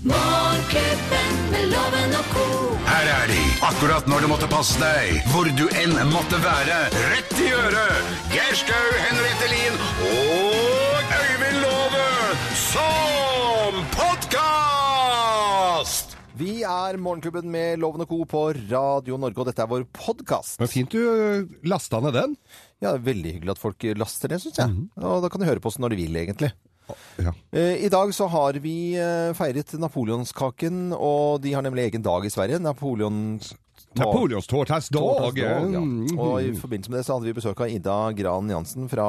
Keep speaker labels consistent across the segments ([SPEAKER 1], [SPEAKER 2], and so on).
[SPEAKER 1] Morgenklubben med loven og ko.
[SPEAKER 2] Her er de, akkurat når du måtte passe deg, hvor du enn måtte være. Rett i øret! Geir Skau, Henriette Lien og Øyvind Låve som podkast!
[SPEAKER 3] Vi er Morgenklubben med Loven og Co. på Radio Norge, og dette er vår podkast.
[SPEAKER 4] Det var fint du ø, lasta ned den. Mhm.
[SPEAKER 3] Ja, det er veldig hyggelig at folk laster det, syns jeg. Og da kan de høre på oss når de vil, egentlig.
[SPEAKER 4] Ja.
[SPEAKER 3] Eh, I dag så har vi eh, feiret napoleonskaken, og de har nemlig egen dag i Sverige. Napoleon... Tårtasdag, ja.
[SPEAKER 4] Napoleonstårtasdagen!
[SPEAKER 3] Og i forbindelse med det så hadde vi besøk av Ida Gran Jansen fra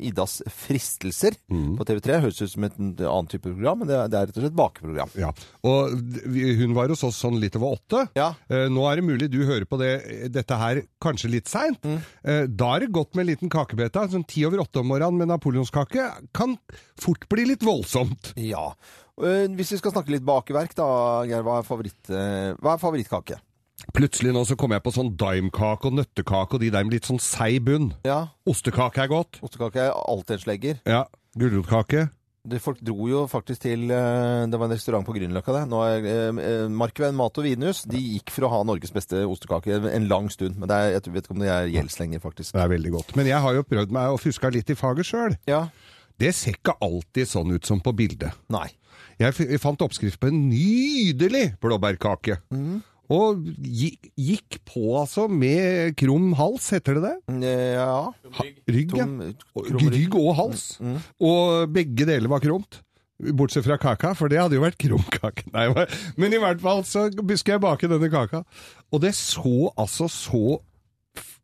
[SPEAKER 3] Idas Fristelser
[SPEAKER 4] Mhm.
[SPEAKER 3] på TV3. Høres ut som et annet type program, men det er, det er rett og slett bakeprogram.
[SPEAKER 4] Ja, og d- vi- hun var hos oss sånn litt over åtte.
[SPEAKER 3] Ja.
[SPEAKER 4] Eh, Nå er det mulig du hører på det, dette her kanskje litt seint.
[SPEAKER 3] Mm.
[SPEAKER 4] Eh, Da er det godt med en liten kakebeta. Sånn ti over åtte om morgenen med napoleonskake kan fort bli litt voldsomt.
[SPEAKER 3] Ja. Eh, Hvis vi skal snakke litt bakeverk, da, Geir, hva er, favoritt, eh, hva er favorittkake?
[SPEAKER 4] Plutselig nå så kom jeg på sånn daimkake og nøttekake og de der med litt sånn seig bunn.
[SPEAKER 3] Ja,
[SPEAKER 4] Ostekake er godt.
[SPEAKER 3] Ostekake er alltid en slegger.
[SPEAKER 4] Ja. Gulrotkake.
[SPEAKER 3] Det- Folk dro jo faktisk til eh, Det var en restaurant på Grünerløkka, det. Nå er eh, eh, Markveien Mat og Vinhus. De gikk for å ha Norges beste ostekake en lang stund. Men det er, jeg vet ikke om det er gjeldslenger, faktisk.
[SPEAKER 4] Det er veldig godt. Men jeg har jo prøvd meg og fuska litt i faget sjøl.
[SPEAKER 3] Ja.
[SPEAKER 4] Det ser ikke alltid sånn ut som på bildet.
[SPEAKER 3] Nei.
[SPEAKER 4] Jeg f- fant oppskrift på en nydelig blåbærkake. Og gi- gikk på altså med krum hals, heter det det?
[SPEAKER 3] Eh, Ja.
[SPEAKER 4] Ha, rygg, ja.
[SPEAKER 3] Tom-
[SPEAKER 4] Og
[SPEAKER 3] krum rygg.
[SPEAKER 4] Rygg og hals. Og begge deler var krumt. Bortsett fra kaka, for det hadde jo vært krumkake. Nei, hva- men i hvert fall så skal jeg bake denne kaka. Og det så altså så f-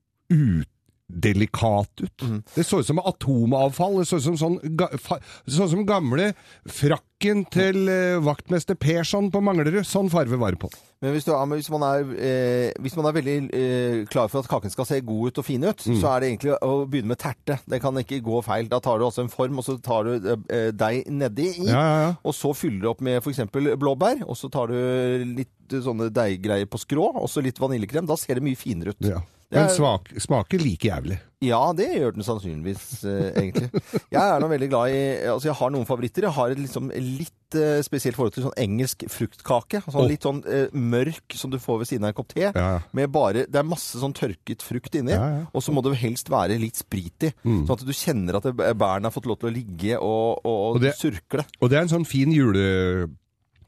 [SPEAKER 4] udelikat ut. Det så ut som atomavfall. Det så ut som, sånn, ga, fa, sånn som gamle frakken til eh, vaktmester Persson på Manglerud. Sånn farve var det på.
[SPEAKER 3] Men hvis, du, ja, men hvis, man er, eh, hvis man er veldig eh, klar for at kaken skal se god ut og fin
[SPEAKER 4] Mm.
[SPEAKER 3] ut, så er det egentlig å begynne med terte. Det kan ikke gå feil. Da tar du også en form, og så tar du eh, deig nedi i.
[SPEAKER 4] Ja, ja, ja.
[SPEAKER 3] Og så fyller du opp med f.eks. blåbær, og så tar du litt sånne deiggreier på skrå, og så litt vaniljekrem. Da ser det mye finere ut.
[SPEAKER 4] Ja.
[SPEAKER 3] Det er-
[SPEAKER 4] Men svak, smaker like jævlig.
[SPEAKER 3] Ja, det gjør den sannsynligvis, eh, egentlig. Jeg er nå veldig glad i Altså, jeg har noen favoritter. Jeg har et liksom litt eh, spesielt forhold til sånn engelsk fruktkake. Sånn
[SPEAKER 4] Åh.
[SPEAKER 3] Litt sånn eh, mørk som du får ved siden av en kopp te.
[SPEAKER 4] ja.
[SPEAKER 3] Med bare Det er masse sånn tørket frukt inni.
[SPEAKER 4] Ja, Mm. ja.
[SPEAKER 3] Og så må det helst være litt sprit i. Sånn at du kjenner at det- bærene har fått lov til å ligge og, og,
[SPEAKER 4] Og det-
[SPEAKER 3] surkle.
[SPEAKER 4] Og det er en sånn fin jule,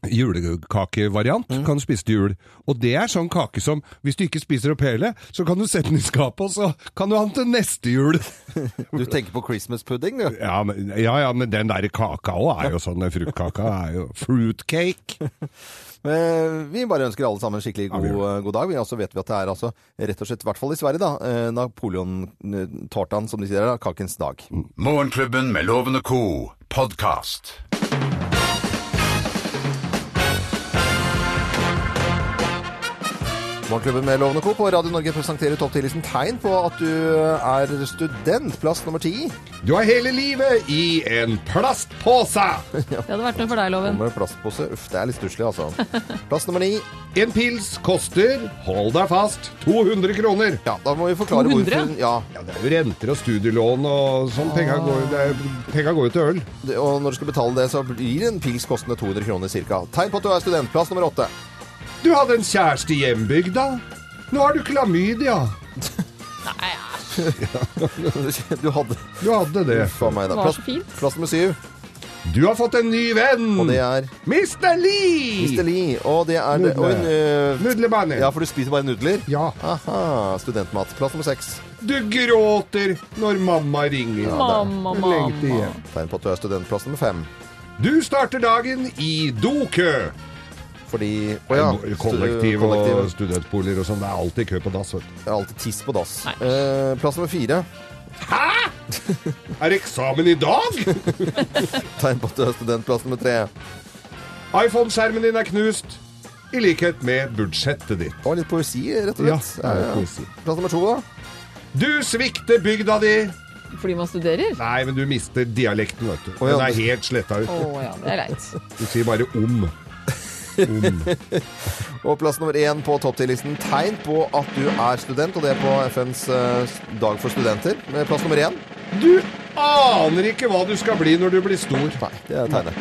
[SPEAKER 4] julekakevariant. Kan du spise til jul. Og det er sånn kake som, hvis du ikke spiser opp hele, så kan du sette den i skapet, og så kan du ha den til neste jul.
[SPEAKER 3] Du tenker på Christmas pudding, du.
[SPEAKER 4] Ja, men, ja, ja, men den der kaka òg er jo sånn. den Fruktkaka er jo fruitcake.
[SPEAKER 3] Eh, Vi bare ønsker alle sammen en skikkelig god,
[SPEAKER 4] vi gjør
[SPEAKER 3] god dag. Vi også vet vi at det er altså, rett og slett, i hvert fall i Sverige, da, eh, Napoleon-tårtan, som de sier, da, kakens dag.
[SPEAKER 4] Mm.
[SPEAKER 2] Morgenklubben med Loven og Co. podkast.
[SPEAKER 3] Morgenklubben med Loven og Co. på Radio Norge presenterer topp 10-listen tegn på at du er student. Plass nummer ti.
[SPEAKER 4] Du har hele livet i en plastpose!
[SPEAKER 5] Det hadde vært noe for deg, Loven.
[SPEAKER 3] Kommer en plastpose. Uff, det er litt stusslig, altså. Plass nummer ni.
[SPEAKER 4] En pils koster, hold deg fast, 200 kroner.
[SPEAKER 3] Ja, da må vi forklare
[SPEAKER 5] 200?
[SPEAKER 3] hvorfor Ja,
[SPEAKER 4] Ja, Det er jo renter og studielån og sånn. Penga går, det er- penga går jo til øl.
[SPEAKER 3] det- og når du skal betale det, så blir en pils kostende 200 kroner ca. Tegn på at du er student. Plass nummer åtte.
[SPEAKER 4] Du hadde en kjæreste i hjembygda. Nå har du klamydia.
[SPEAKER 5] Nei, æsj.
[SPEAKER 3] Du hadde
[SPEAKER 4] Du hadde det.
[SPEAKER 3] Uff a meg, da.
[SPEAKER 5] Det var
[SPEAKER 3] Plass,
[SPEAKER 5] så fint.
[SPEAKER 3] plass nummer syv,
[SPEAKER 4] Du har fått en ny venn.
[SPEAKER 3] og det er
[SPEAKER 4] Mr. Lee!
[SPEAKER 3] Mr. Lee. Og det er det-
[SPEAKER 4] Nudler.
[SPEAKER 3] og en, øh,
[SPEAKER 4] Nudlebanen.
[SPEAKER 3] Ja, for du spiser bare nudler?
[SPEAKER 4] Ja.
[SPEAKER 3] Aha. Studentmat. Plass nummer seks.
[SPEAKER 4] Du gråter når mamma ringer.
[SPEAKER 5] Mamma,
[SPEAKER 4] Jeg lengter
[SPEAKER 5] mamma.
[SPEAKER 4] igjen.
[SPEAKER 3] Tegn på at du er student. Plass nummer fem.
[SPEAKER 4] Du starter dagen i dokø.
[SPEAKER 3] Fordi Å
[SPEAKER 4] Kollektiv, Kollektiv og studentboliger og sånn. Det er alltid kø på dass. vet du.
[SPEAKER 3] Det er alltid tiss på dass.
[SPEAKER 5] Nei.
[SPEAKER 3] Eh, plass nummer fire.
[SPEAKER 4] Hæ?! Er det eksamen i dag?!
[SPEAKER 3] Tegn på at du er student. Plass nummer tre.
[SPEAKER 4] iPhone-skjermen din er knust. I likhet med budsjettet ditt.
[SPEAKER 3] Og litt poesi, rett og
[SPEAKER 4] Ja,
[SPEAKER 3] slett.
[SPEAKER 4] det er poesi.
[SPEAKER 3] Plass nummer to, da.
[SPEAKER 4] Du svikter bygda di.
[SPEAKER 5] Fordi man studerer?
[SPEAKER 4] Nei, men du mister dialekten, vet du.
[SPEAKER 3] Å, ja.
[SPEAKER 4] Den er helt sletta ut.
[SPEAKER 5] Å ja, det er greit.
[SPEAKER 4] Du sier bare om. om.
[SPEAKER 3] Og plass nummer én på topp 10-listen. Tegn på at du er student, og det er på FNs eh, dag for studenter. Med Plass nummer én.
[SPEAKER 4] Du aner ikke hva du skal bli når du blir stor.
[SPEAKER 3] Nei, det er tegnet.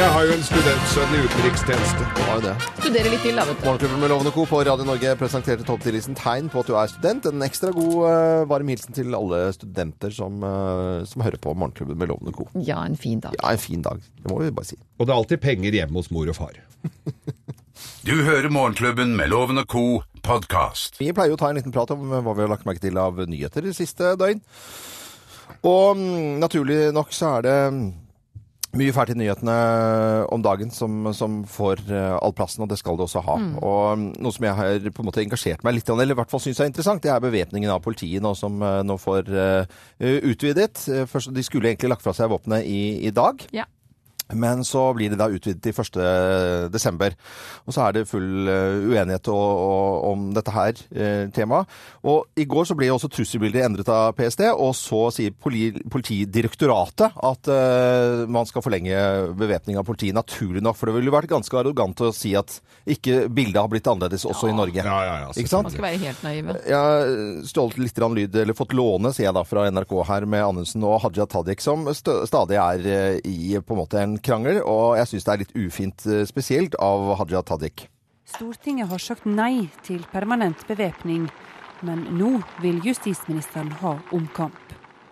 [SPEAKER 4] Jeg har jo en studentsønn i utenrikstjeneste.
[SPEAKER 3] Har jo det.
[SPEAKER 5] Studere litt til, da, vet du.
[SPEAKER 3] Morgenklubben med Lovende Co. på Radio Norge presenterte topp 10-listen tegn på at du er student. En ekstra god eh, varm hilsen til alle studenter som, eh, som hører på Morgenklubben med Lovende Co.
[SPEAKER 5] Ja, en fin dag.
[SPEAKER 3] Ja, en fin dag. Det må vi bare si.
[SPEAKER 4] Og det er alltid penger hjemme hos mor og far.
[SPEAKER 2] Du hører Morgenklubben med Loven og Co. podkast.
[SPEAKER 3] Vi pleier jo å ta en liten prat om eh, hva vi har lagt merke til av nyheter de siste døgn. Og mm, naturlig nok så er det mm, mye fælt i nyhetene om dagen som, som får eh, all plassen, og det skal det også ha. Og mm, noe som jeg har på en måte engasjert meg litt, i, eller i hvert fall syns er interessant, det er bevæpningen av politiet nå som eh, nå får eh, utvidet. Eh, Først, de skulle egentlig lagt fra seg våpenet i, i dag.
[SPEAKER 5] Ja.
[SPEAKER 3] Men så blir det da utvidet til 1. desember. Og så er det full eh, uenighet og, og, om dette her eh, temaet. Og i går så ble jo også trusselbildet endret av PST, og så sier poli, Politidirektoratet at eh, man skal forlenge bevæpning av politiet, naturlig nok. For det ville vært ganske arrogant å si at ikke bildet har blitt annerledes også i Norge.
[SPEAKER 4] Ja, ja, ja,
[SPEAKER 3] ikke sant?
[SPEAKER 5] Man skal være helt naive.
[SPEAKER 3] Jeg har stjålet litt grann lyd, eller fått låne, sier jeg da, fra NRK her med Anundsen og Hadia Tajik, som stø- stadig er eh, i på en måte en krangel. Og jeg syns det er litt ufint, eh, spesielt av Hadia Tajik.
[SPEAKER 6] Stortinget har sagt nei til permanent bevæpning, men nå vil justisministeren ha omkamp.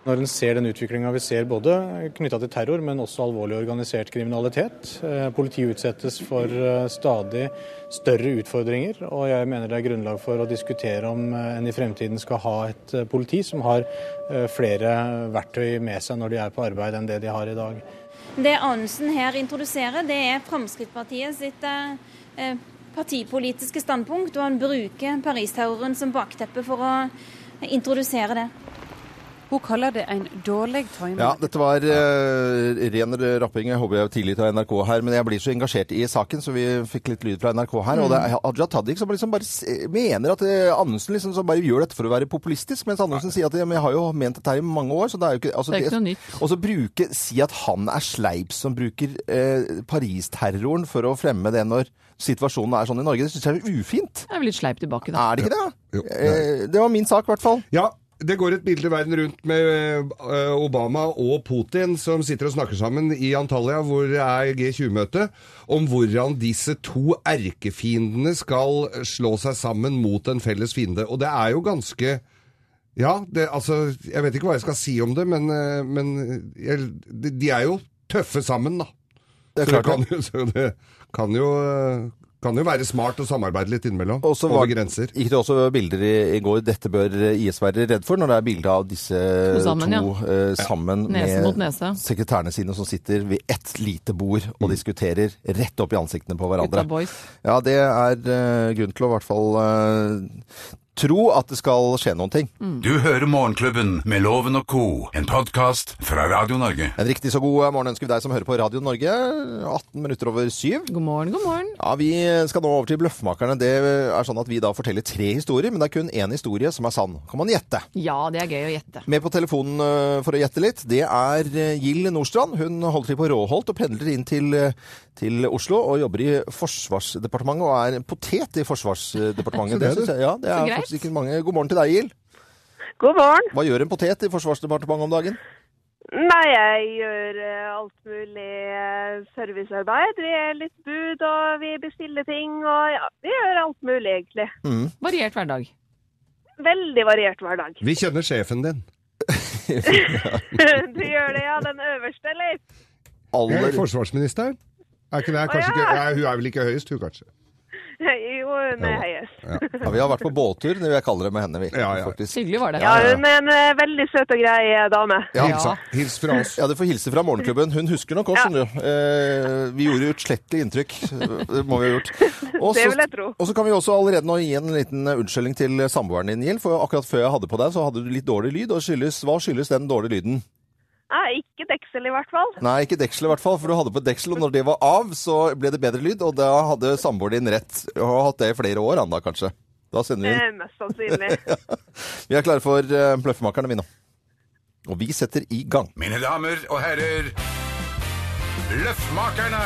[SPEAKER 7] Når en ser den utviklinga vi ser både knytta til terror, men også alvorlig organisert kriminalitet. eh, Politiet utsettes for eh, stadig større utfordringer, og jeg mener det er grunnlag for å diskutere om eh, en i fremtiden skal ha et eh, politi som har eh, flere verktøy med seg når de er på arbeid, enn det de har i dag.
[SPEAKER 8] Det Anundsen her introduserer, det er Fremskrittspartiet sitt eh, eh, partipolitiske standpunkt, og han bruker Paris-terroren som bakteppe for å introdusere det.
[SPEAKER 6] Hun kaller det en dårlig timing.
[SPEAKER 3] Ja, dette var eh, ren rapping. Jeg håper jeg var tidlig til NRK her, men jeg blir så engasjert i saken, så vi fikk litt lyd fra NRK her. Og det er Hadia Tajik som liksom bare s- mener at eh, Anundsen liksom som bare gjør dette for å være populistisk, mens Anundsen sier at "Ja, men jeg har jo ment dette her i mange år, så det er jo ikke altså,
[SPEAKER 5] Det er ikke noe nytt.
[SPEAKER 3] Og så bruke, si at han er sleip som bruker eh, Paris-terroren for å fremme det når situasjonen er sånn i Norge, det syns jeg er ufint.
[SPEAKER 5] Det er vel litt sleip tilbake, da.
[SPEAKER 3] Er det ikke det?
[SPEAKER 4] Jo, det er
[SPEAKER 3] eh, det var min sak, i hvert fall.
[SPEAKER 4] Ja, det går et bilde verden rundt med eh, Obama og Putin som sitter og snakker sammen i Antalya, hvor det er G20-møte, om hvordan disse to erkefiendene skal slå seg sammen mot en felles fiende. Og det er jo ganske Ja, det, altså Jeg vet ikke hva jeg skal si om det, men, eh, men jeg, de de er jo tøffe sammen, da.
[SPEAKER 3] Det er
[SPEAKER 4] så, det
[SPEAKER 3] klart
[SPEAKER 4] kan,
[SPEAKER 3] det.
[SPEAKER 4] jo- så det kan jo eh, kan jo være smart å samarbeide litt innimellom.
[SPEAKER 3] Og så
[SPEAKER 4] Over
[SPEAKER 3] var-
[SPEAKER 4] grenser.
[SPEAKER 3] Gikk det også bilder i, i går 'Dette bør IS være redd for', når det er bilde av disse to
[SPEAKER 5] sammen,
[SPEAKER 3] sammen,
[SPEAKER 5] ja.
[SPEAKER 3] eh, sammen
[SPEAKER 5] Nese
[SPEAKER 3] med
[SPEAKER 5] mot nese.
[SPEAKER 3] sekretærene sine som sitter ved ett lite bord og
[SPEAKER 4] Mm.
[SPEAKER 3] diskuterer rett opp i ansiktene på hverandre.
[SPEAKER 5] Gutta boys.
[SPEAKER 3] Ja, det er eh, grunn til å i hvert fall eh, tro at det skal skje noen ting.
[SPEAKER 5] Mm.
[SPEAKER 2] Du hører Morgenklubben med Loven og Co., en podkast fra Radio Norge.
[SPEAKER 3] En riktig så god eh, morgen ønsker vi deg som hører på Radio Norge. 18 minutter over syv.
[SPEAKER 5] God morgen, god morgen.
[SPEAKER 3] Ja, Vi skal nå over til Bløffmakerne. Det er sånn at Vi da forteller tre historier, men det er kun én historie som er sann. Kan man gjette?
[SPEAKER 5] Ja, det er gøy å gjette.
[SPEAKER 3] Med på telefonen eh, for å gjette litt, det er eh, Gill Nordstrand. Hun holder til på Råholt og pendler inn til, eh, til Oslo og jobber i Forsvarsdepartementet og er en potet i Forsvarsdepartementet. Det synes jeg, ja, det
[SPEAKER 5] Så
[SPEAKER 3] er
[SPEAKER 5] greit.
[SPEAKER 3] faktisk ikke mange. God morgen til deg, Gill.
[SPEAKER 9] God morgen.
[SPEAKER 3] Hva gjør en potet i Forsvarsdepartementet om dagen?
[SPEAKER 9] Nei, jeg gjør eh, alt mulig eh, servicearbeid. Vi er litt bud, og vi bestiller ting, og ja, vi gjør alt mulig, egentlig.
[SPEAKER 5] Variert hverdag.
[SPEAKER 9] Veldig variert hver dag.
[SPEAKER 4] Vi kjenner sjefen din.
[SPEAKER 9] du gjør det, ja, den øverste, Leif?
[SPEAKER 4] Eller
[SPEAKER 3] Aller
[SPEAKER 4] forsvarsministeren? Er ikke det,
[SPEAKER 9] Å,
[SPEAKER 4] kanskje
[SPEAKER 9] ja.
[SPEAKER 4] ikke, nei, hun er vel ikke høyest, hun kanskje?
[SPEAKER 9] Jo, hun
[SPEAKER 4] Ja.
[SPEAKER 9] er høyest.
[SPEAKER 3] ja, Vi har vært på båttur, det vil jeg kalle det med henne, vi.
[SPEAKER 4] Ja, ja.
[SPEAKER 3] faktisk.
[SPEAKER 5] Hyggelig var det.
[SPEAKER 9] Ja, hun er en eh, veldig søt og grei eh, dame.
[SPEAKER 3] Ja.
[SPEAKER 5] Ja.
[SPEAKER 4] Hilsa. Hils fra oss.
[SPEAKER 3] Ja, Du får hilse fra Morgenklubben. Hun husker nok oss, skjønner du. Eh, vi gjorde utslettelig inntrykk. Det må vi ha gjort. Og
[SPEAKER 9] Det
[SPEAKER 3] så-
[SPEAKER 9] vil jeg tro.
[SPEAKER 3] Og så kan vi også allerede nå gi en liten unnskyldning til samboeren din, Gild. For akkurat før jeg hadde på deg, så hadde du litt dårlig lyd. Og skyldes, hva skyldes den dårlige lyden?
[SPEAKER 9] Nei, ikke deksel i hvert fall.
[SPEAKER 3] Nei, ikke dekselet i hvert fall, for du hadde på deksel, og når det var av, så ble det bedre lyd. Og da hadde samboeren din rett. Og har hatt det i flere år, han da, kanskje. Da sender vi inn.
[SPEAKER 9] Eh, Mest sannsynlig.
[SPEAKER 3] Vi er klare for eh, bløffmakerne, vi nå. Og vi setter i gang.
[SPEAKER 2] Mine damer og herrer, Løffmakerne!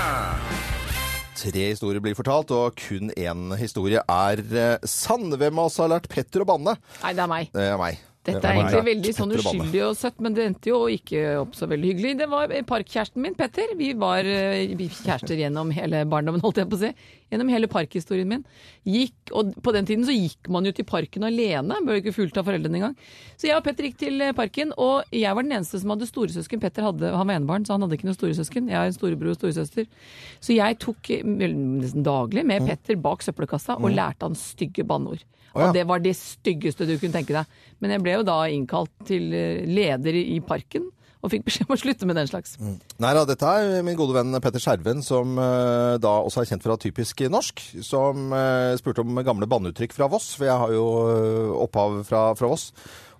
[SPEAKER 3] Tre historier blir fortalt, og kun én historie er eh, sann. Hvem av oss har lært Petter å banne?
[SPEAKER 5] Nei, det er meg.
[SPEAKER 3] Det er meg.
[SPEAKER 5] Dette
[SPEAKER 3] Det
[SPEAKER 5] er
[SPEAKER 3] var
[SPEAKER 5] egentlig
[SPEAKER 3] rett
[SPEAKER 5] veldig sånn
[SPEAKER 3] etter å banne.
[SPEAKER 5] uskyldig og søtt, men det endte jo ikke opp så veldig hyggelig. Det var parkkjæresten min, Petter. Vi var eh, vi kjærester gjennom hele barndommen, holdt jeg på å si. Gjennom hele parkhistorien min. Gikk, og på den tiden så gikk man jo til parken alene, ble jo ikke fulgt av foreldrene engang. Så jeg og Petter gikk til eh, parken, og jeg var den eneste som hadde storesøsken. Petter hadde, han var enebarn, så han hadde ikke noe storesøsken. Jeg har en storebror og storesøster. Så jeg tok eh, vel, nesten daglig med Petter bak søppelkassa og lærte han stygge banneord.
[SPEAKER 3] Mm. ja.
[SPEAKER 5] Og det var det styggeste du kunne tenke deg. Men jeg ble jo da innkalt til eh, leder i parken, og fikk beskjed om å slutte med den slags.
[SPEAKER 3] Nei da, dette er min gode venn Petter Skjerven, som eh, da også er kjent fra typisk norsk, som eh, spurte om gamle banneuttrykk fra Voss, for jeg har jo eh, opphav fra, fra Voss.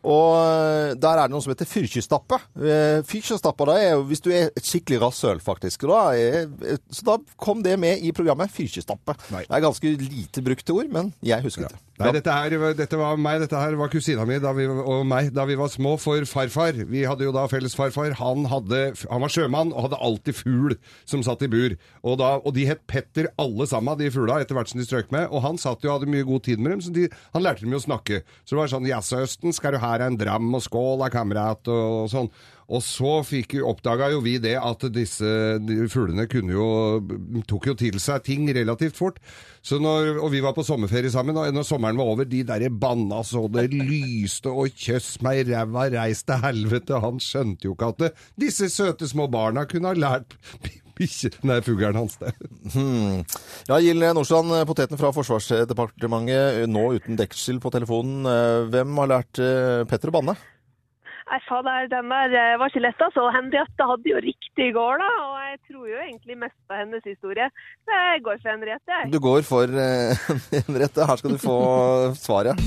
[SPEAKER 3] Og eh, der er det noe som heter fyrkjestappe. Eh, Fyrkjestappe, da er jo hvis du er et skikkelig rasshøl, faktisk. og Da er, eh, så da kom det med i programmet, fyrkjestappe.
[SPEAKER 4] Nei.
[SPEAKER 3] Det er ganske lite brukte ord, men jeg husket det.
[SPEAKER 4] Nei, dette, her, dette var meg, dette her var kusina mi da vi, og meg da vi var små for farfar. Vi hadde jo da felles farfar. Han, hadde, han var sjømann og hadde alltid fugl som satt i bur. Og, da, og de het Petter alle sammen, de fugla, etter hvert som de strøk med. Og han satt jo og hadde mye god tid med dem, så de, han lærte dem jo å snakke. Så det var sånn 'Ja, søsten, skal du her en dram og skål, da, kamerat?' og, og sånn. Og så fikk, oppdaga jo vi det at disse de fuglene kunne jo, tok jo til seg ting relativt fort. Så når, og vi var på sommerferie sammen, og når sommeren var over, de derre banna så det lyste og kjøss meg i ræva, reis til helvete. Han skjønte jo ikke at det, disse søte små barna kunne ha lært bikkje... Nei, fuglen hans det.
[SPEAKER 3] Hmm. Ja, Gild Nordstrand, eh, poteten fra Forsvarsdepartementet, eh, nå uten deksel på telefonen. Eh, Hvem har lært eh, Petter å banne?
[SPEAKER 9] Nei, faen, det er- dem er, eh, var ikke lett, altså. Henriette hadde jo riktig i går, da. Og jeg tror jo egentlig mest på hennes historie. Så jeg går for Henriette, jeg.
[SPEAKER 3] Du går for eh, en rette. Her skal du få svaret.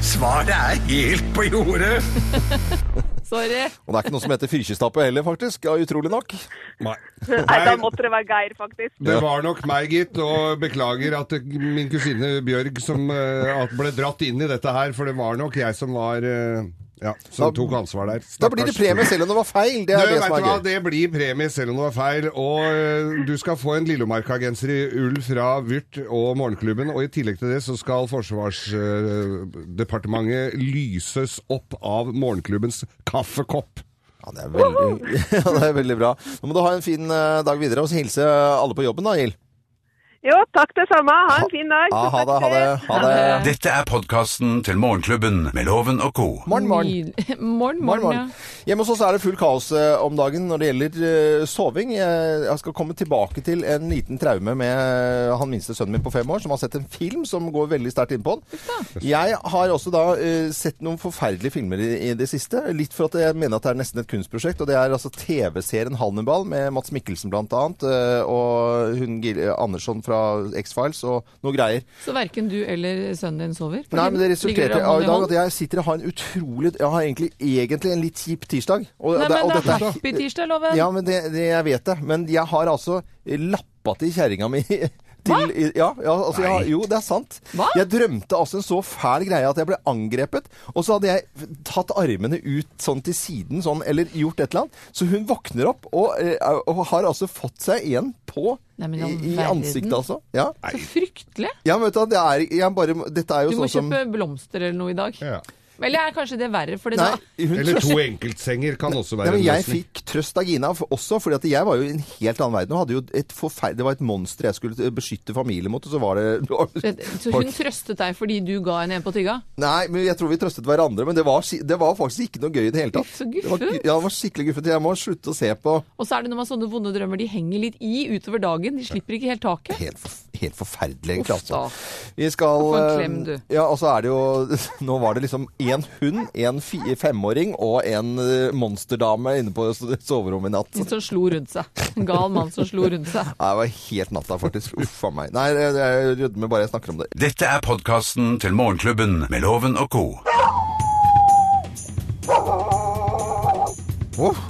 [SPEAKER 2] Svaret er helt på jordet.
[SPEAKER 5] Sorry!
[SPEAKER 3] Og det er ikke noe som heter fyrkjestappe heller, faktisk. Ja, utrolig nok.
[SPEAKER 4] Nei.
[SPEAKER 9] Nei, da måtte det være Geir, faktisk.
[SPEAKER 4] Det var nok meg, gitt, og beklager at det- min kusine Bjørg som eh, at ble dratt inn i dette her, for det var nok jeg som var eh, Ja, som
[SPEAKER 3] Da-
[SPEAKER 4] tok ansvar der.
[SPEAKER 3] Da blir det
[SPEAKER 4] Stakkars
[SPEAKER 3] premie selv om det var feil. Det er
[SPEAKER 4] du,
[SPEAKER 3] det som er
[SPEAKER 4] vet du hva,
[SPEAKER 3] gøy.
[SPEAKER 4] det blir premie selv om det var feil. Og eh, du skal få en Lillomarka-genser i ull fra Vyrt og Morgenklubben. Og i tillegg til det så skal Forsvarsdepartementet lyses opp av Morgenklubbens kaffekopp.
[SPEAKER 3] Ja, det er veldig, ja, det er veldig bra. Nå må du ha en fin eh, dag videre, og så hilse alle på jobben da, Gild.
[SPEAKER 9] Jo, takk det samme. Ha en fin dag.
[SPEAKER 3] Ja, ha det, ha det. Ha det.
[SPEAKER 2] Dette er podkasten til Morgenklubben med Loven og co.
[SPEAKER 3] Morgen, morgen.
[SPEAKER 5] Nydelig.
[SPEAKER 3] Morgen,
[SPEAKER 5] morgen, morgen,
[SPEAKER 3] morgen. Hjemme hos oss er det full kaos eh, om dagen når det gjelder eh, soving. Jeg jeg skal komme tilbake til en liten traume med eh, han minste sønnen min på fem år, som har sett en film som går veldig sterkt inn på han. Jeg har også da eh, sett noen forferdelige filmer i, i det siste. Litt for at jeg mener at det er nesten et kunstprosjekt. Og det er altså TV-serien Hannibal med Mats Mikkelsen blant annet, eh, og hun Gil Andersson fra X-Files og noe greier.
[SPEAKER 5] ja. Så verken du eller sønnen din sover?
[SPEAKER 3] Nei, men det
[SPEAKER 5] Ligger
[SPEAKER 3] resulterte
[SPEAKER 5] dere
[SPEAKER 3] av i
[SPEAKER 5] hånd
[SPEAKER 3] dag at jeg sitter og har en utrolig Jeg har egentlig, egentlig en litt kjip tirsdag. Og,
[SPEAKER 5] hånd? Nei, men
[SPEAKER 3] og
[SPEAKER 5] det
[SPEAKER 3] dette
[SPEAKER 5] er happy tirsdag, Loven!
[SPEAKER 3] ja, men det, det, jeg vet det. Men jeg har altså lappa til kjerringa mi. Til, ja, ja, altså, jeg, har- jo, det er sant.
[SPEAKER 5] Hva?
[SPEAKER 3] Jeg drømte altså en så fæl greie at jeg ble angrepet. Og så hadde jeg f- tatt armene ut sånn til siden, sånn, eller gjort et eller annet. Så hun våkner opp og, eh, og har altså fått seg en på
[SPEAKER 5] Nei, men i all
[SPEAKER 3] i, i
[SPEAKER 5] verden.
[SPEAKER 3] ansiktet, altså. Ja,
[SPEAKER 5] Så fryktelig!
[SPEAKER 3] ja men vet du, hva, det er, jeg bare, dette er jo
[SPEAKER 5] Du må
[SPEAKER 3] sånn som
[SPEAKER 5] kjøpe blomster eller noe i dag.
[SPEAKER 4] Ja.
[SPEAKER 5] Eller er kanskje det verre, for det
[SPEAKER 3] Nei,
[SPEAKER 5] da
[SPEAKER 3] hun
[SPEAKER 4] Eller to enkeltsenger kan også
[SPEAKER 3] Nei,
[SPEAKER 4] være
[SPEAKER 3] men
[SPEAKER 4] en
[SPEAKER 3] jeg
[SPEAKER 4] løsning.
[SPEAKER 3] fikk trøst av Gina for, også, fordi at jeg var jo i en helt annen verden. Og hadde jo et forferd... Det var et monster jeg skulle eh, beskytte familien mot, og så var det
[SPEAKER 5] Så hun trøstet deg fordi du ga henne en på tygga?
[SPEAKER 3] Nei, men jeg tror vi trøstet hverandre, men det var, si- det var faktisk ikke noe gøy i det hele tatt.
[SPEAKER 5] Guff, så
[SPEAKER 3] Det var,
[SPEAKER 5] guffent.
[SPEAKER 3] ja, det var skikkelig guffent. Jeg må slutte å se på
[SPEAKER 5] Og så er det når man har sånne vonde drømmer, de henger litt i utover dagen. De slipper ikke helt taket.
[SPEAKER 3] Helt, forf- helt forferdelig, egentlig.
[SPEAKER 5] Uff da.
[SPEAKER 3] Altså. Vi skal
[SPEAKER 5] Få en
[SPEAKER 3] eh,
[SPEAKER 5] klem, du.
[SPEAKER 3] Ja, og så er det jo Nå var det liksom én hund, en fi, femåring og en eh, monsterdame inne på so- soverommet i natt.
[SPEAKER 5] Litt sånn slo rundt seg. En gal mann som slo rundt seg.
[SPEAKER 3] Nei, Det var helt natta, faktisk. Uff a meg. Nei, jeg jeg rødmer bare jeg snakker om det.
[SPEAKER 2] Dette er podkasten til Morgenklubben med Loven og co.
[SPEAKER 3] Åh.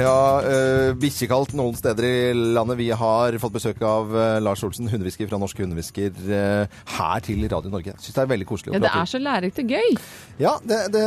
[SPEAKER 3] Ja, øh, bikkjekaldt noen steder i landet. Vi har fått besøk av øh, Lars Olsen, hundehvisker fra Norske Hundehvisker, øh, her til Radio Norge. Syns det er veldig koselig å
[SPEAKER 5] Ja, det
[SPEAKER 3] prate.
[SPEAKER 5] er så lærerikt og gøy.
[SPEAKER 3] Ja, det, det,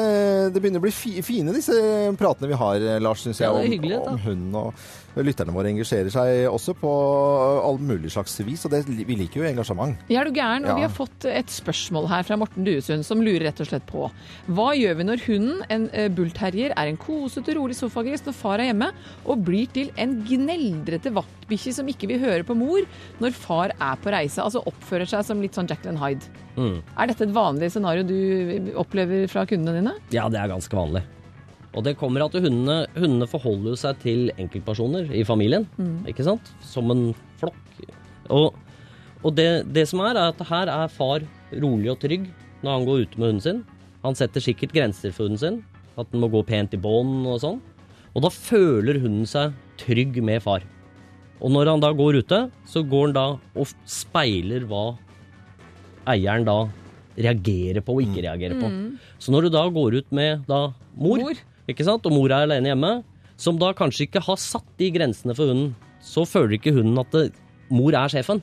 [SPEAKER 3] det begynner å bli fi, fine disse pratene vi har, eh, Lars, syns jeg.
[SPEAKER 5] Ja, det er
[SPEAKER 3] Om,
[SPEAKER 5] hyggelig, da.
[SPEAKER 3] om hunden og lytterne våre engasjerer seg også på eh, all mulig slags vis. Og det, vi liker jo engasjement.
[SPEAKER 5] Ja, er du gæren?
[SPEAKER 3] Ja.
[SPEAKER 5] Og vi har fått eh, et spørsmål her fra Morten Duesund, som lurer rett og slett på Hva gjør vi når hunden, en eh, bullterrier, er en kosete, rolig sofagris når far er hjemme, og blir til en gneldrete vaktbikkje som ikke vil høre på mor når far er på reise? Altså oppfører seg som litt sånn Jacqueline Hyde. Er dette et vanlig scenario du opplever fra kundene dine?
[SPEAKER 10] Ja, det er ganske vanlig. Og det kommer at hundene, hundene forholder seg til enkeltpersoner i familien, ikke sant? Som en flokk. Og, og det, det som er, er at her er far rolig og trygg når han går ute med hunden sin. Han setter sikkert grenser for hunden sin, at den må gå pent i bånd og sånn. Og da føler hunden seg trygg med far. Og når han da går ute, så går han da og speiler hva eieren da reagerer på og ikke reagerer på. Så når du da går ut med da mor,
[SPEAKER 5] Mor.
[SPEAKER 10] Ikke sant? og mor er alene hjemme, som da kanskje ikke har satt de grensene for hunden, så føler ikke hunden at det, mor er sjefen.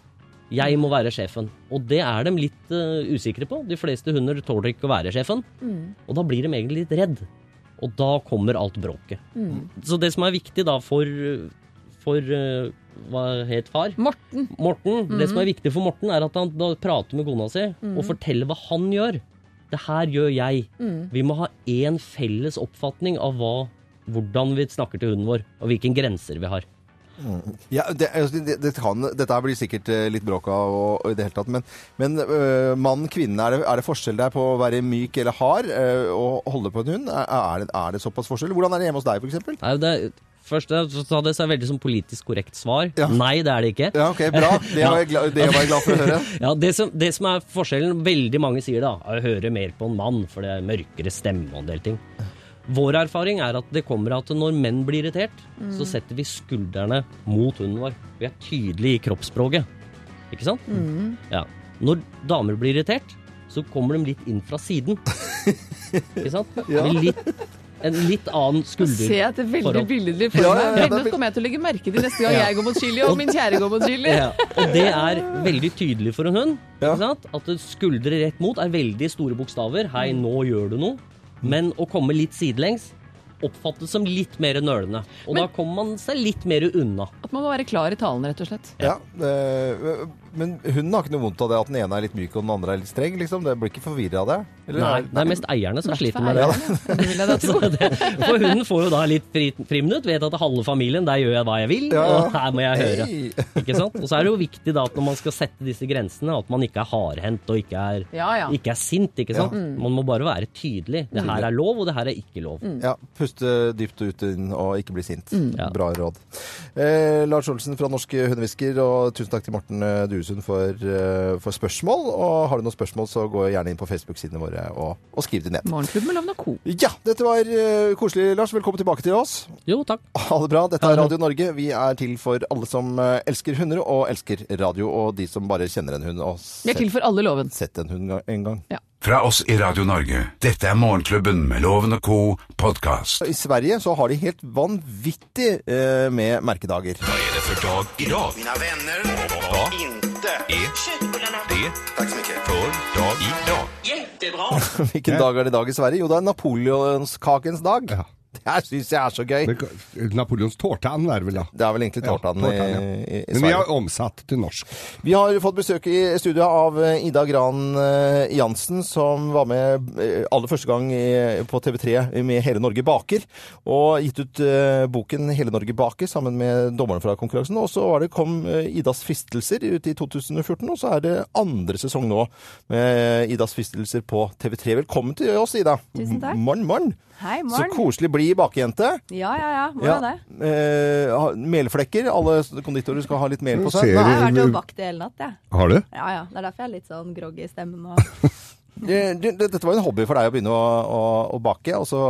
[SPEAKER 10] Jeg må være sjefen. Og det er de litt eh, usikre på. De fleste hunder tåler ikke å være sjefen. Og da blir de egentlig litt redd. Og da kommer alt bråket. Så det som er viktig da for, for eh, Hva het far?
[SPEAKER 5] Morten.
[SPEAKER 10] Morten, Det som er viktig for Morten, er at han da prater med kona si og forteller hva han gjør. Det her gjør jeg. Vi må ha én felles oppfatning av hva, hvordan vi snakker til hunden vår, og hvilke grenser vi har.
[SPEAKER 3] Ja, det, altså, det, det kan, dette her blir sikkert eh, litt bråk av og, og i det hele tatt, men, men øh, mann, kvinne, er det, er det forskjell der på å være myk eller hard øh, og holde på en hund? Er, er, det, er det såpass forskjell? Hvordan er det hjemme hos deg, for eksempel?
[SPEAKER 10] Nei, det, først så sa det seg veldig som politisk korrekt svar.
[SPEAKER 3] Ja.
[SPEAKER 10] Nei, det er det ikke.
[SPEAKER 3] Ja, ok, bra. Det var jeg glad, det var jeg glad for å høre.
[SPEAKER 10] Ja, det som, det som er forskjellen, veldig mange sier da, er å høre mer på en mann, for det er mørkere stemme og en del ting. Vår erfaring er at det kommer at når menn blir irritert, så setter vi skuldrene mot hunden vår. Vi er tydelige i kroppsspråket. Ikke sant? Ja. Når damer blir irritert, så kommer de litt inn fra siden. Ikke sant? Med Litt, en litt annen skulder.
[SPEAKER 5] Se at det er veldig
[SPEAKER 10] forhold.
[SPEAKER 5] billedlig for
[SPEAKER 3] Ja,
[SPEAKER 5] meg.
[SPEAKER 3] ja, ja, det er
[SPEAKER 5] Veldig godt kommer jeg til å legge merke til neste gang jeg går mot chili, og min kjære går mot chili.
[SPEAKER 10] Ja, og det er veldig tydelig for en hund. Ikke sant? At det skuldre rett mot er veldig store bokstaver. Hei, nå gjør du noe. Men å komme litt sidelengs oppfattes som litt mer nølende. Og da kommer man seg litt mer unna.
[SPEAKER 5] At man må være klar i talen, rett og slett.
[SPEAKER 3] Ja, øh, men hunden har ikke noe vondt av det at den ene er litt myk og den andre er litt streng, liksom? Det blir ikke forvirra av det? Eller
[SPEAKER 10] Nei,
[SPEAKER 3] er-
[SPEAKER 10] det er mest eierne som sliter med det.
[SPEAKER 5] Hvertfall er det, vil jeg da tro.
[SPEAKER 10] Så det. For hunden får jo da litt fri- friminutt. Vet at halve familien, der gjør jeg hva jeg vil,
[SPEAKER 3] Ja.
[SPEAKER 10] og her må jeg høre.
[SPEAKER 3] Hei.
[SPEAKER 10] Ikke sant? Og så er det jo viktig da at når man skal sette disse grensene, at man ikke er hardhendt og ikke er,
[SPEAKER 5] Ja, ja.
[SPEAKER 10] ikke er sint. ikke sant? Man må bare være tydelig. Det her er lov, og det her er ikke lov.
[SPEAKER 3] Ja, puste dypt ut inn og ikke bli sint.
[SPEAKER 10] Ja.
[SPEAKER 3] Bra råd. Eh, Lars Olsen fra Norsk Hundehvisker, og tusen takk til Morten eh, Duesund for, eh, for spørsmål. Og har du noen spørsmål, så gå gjerne inn på Facebook-sidene våre og, og skriv det ned.
[SPEAKER 5] Morgenklubb med Lovna Co.
[SPEAKER 3] Ja, dette var eh, koselig, Lars. Velkommen tilbake til oss.
[SPEAKER 10] Jo, takk.
[SPEAKER 3] Ha det bra. Dette er Radio Norge. Vi er til for alle som eh, elsker hunder og elsker radio, og de som bare kjenner en hund og
[SPEAKER 5] Vi er til
[SPEAKER 3] sett,
[SPEAKER 5] for alle loven.
[SPEAKER 3] sett en hund en gang.
[SPEAKER 2] Fra oss i Radio Norge, dette er Morgenklubben med Loven og Co. podkast.
[SPEAKER 3] I Sverige så har de helt vanvittig eh, med merkedager.
[SPEAKER 2] Mina venner, ja. inte
[SPEAKER 11] E.
[SPEAKER 2] det Tack så mycket. för dag idag.
[SPEAKER 3] Hvilken dag er det i dag i Sverige? Jo, det er napoleonskakens dag.
[SPEAKER 4] Ja.
[SPEAKER 3] Det her syns jeg er så gøy.
[SPEAKER 4] Det kan- Napoleons tårtan er det vel da.
[SPEAKER 3] Det er vel egentlig tårtaen
[SPEAKER 4] Ja,
[SPEAKER 3] i,
[SPEAKER 4] tårtan,
[SPEAKER 3] i, i
[SPEAKER 4] Men vi
[SPEAKER 3] Sverige.
[SPEAKER 4] har omsatt til norsk.
[SPEAKER 12] Mm,
[SPEAKER 3] Vi har fått besøk i studio av eh, Ida Gran eh, Jansen, som var med eh, aller første gang i- på TV3 med Hele Norge baker, og gitt ut eh, boken Hele Norge baker sammen med dommerne fra konkurransen. Og så var det, kom eh, Idas fristelser ut i 2014, og så er det andre sesong nå med eh, Idas fristelser på TV3. Velkommen til oss, Ida.
[SPEAKER 12] Tusen takk.
[SPEAKER 3] Morn, morn.
[SPEAKER 12] Hei,
[SPEAKER 3] Så
[SPEAKER 12] morgen.
[SPEAKER 3] koselig bli bakejente.
[SPEAKER 12] Ja, ja, ja. Hvordan er det?
[SPEAKER 3] Eh, ha- melflekker. Alle konditorer skal ha litt mel på seg.
[SPEAKER 4] Ser
[SPEAKER 12] Jeg har vært og
[SPEAKER 4] du-
[SPEAKER 12] bakt i hele natt, jeg.
[SPEAKER 4] Har du?
[SPEAKER 12] Ja. ja ja. Det er derfor jeg er litt sånn groggy i stemmen. Og...
[SPEAKER 3] Eh, du, det- Dette var jo en hobby for deg å begynne å, å, å bake, og så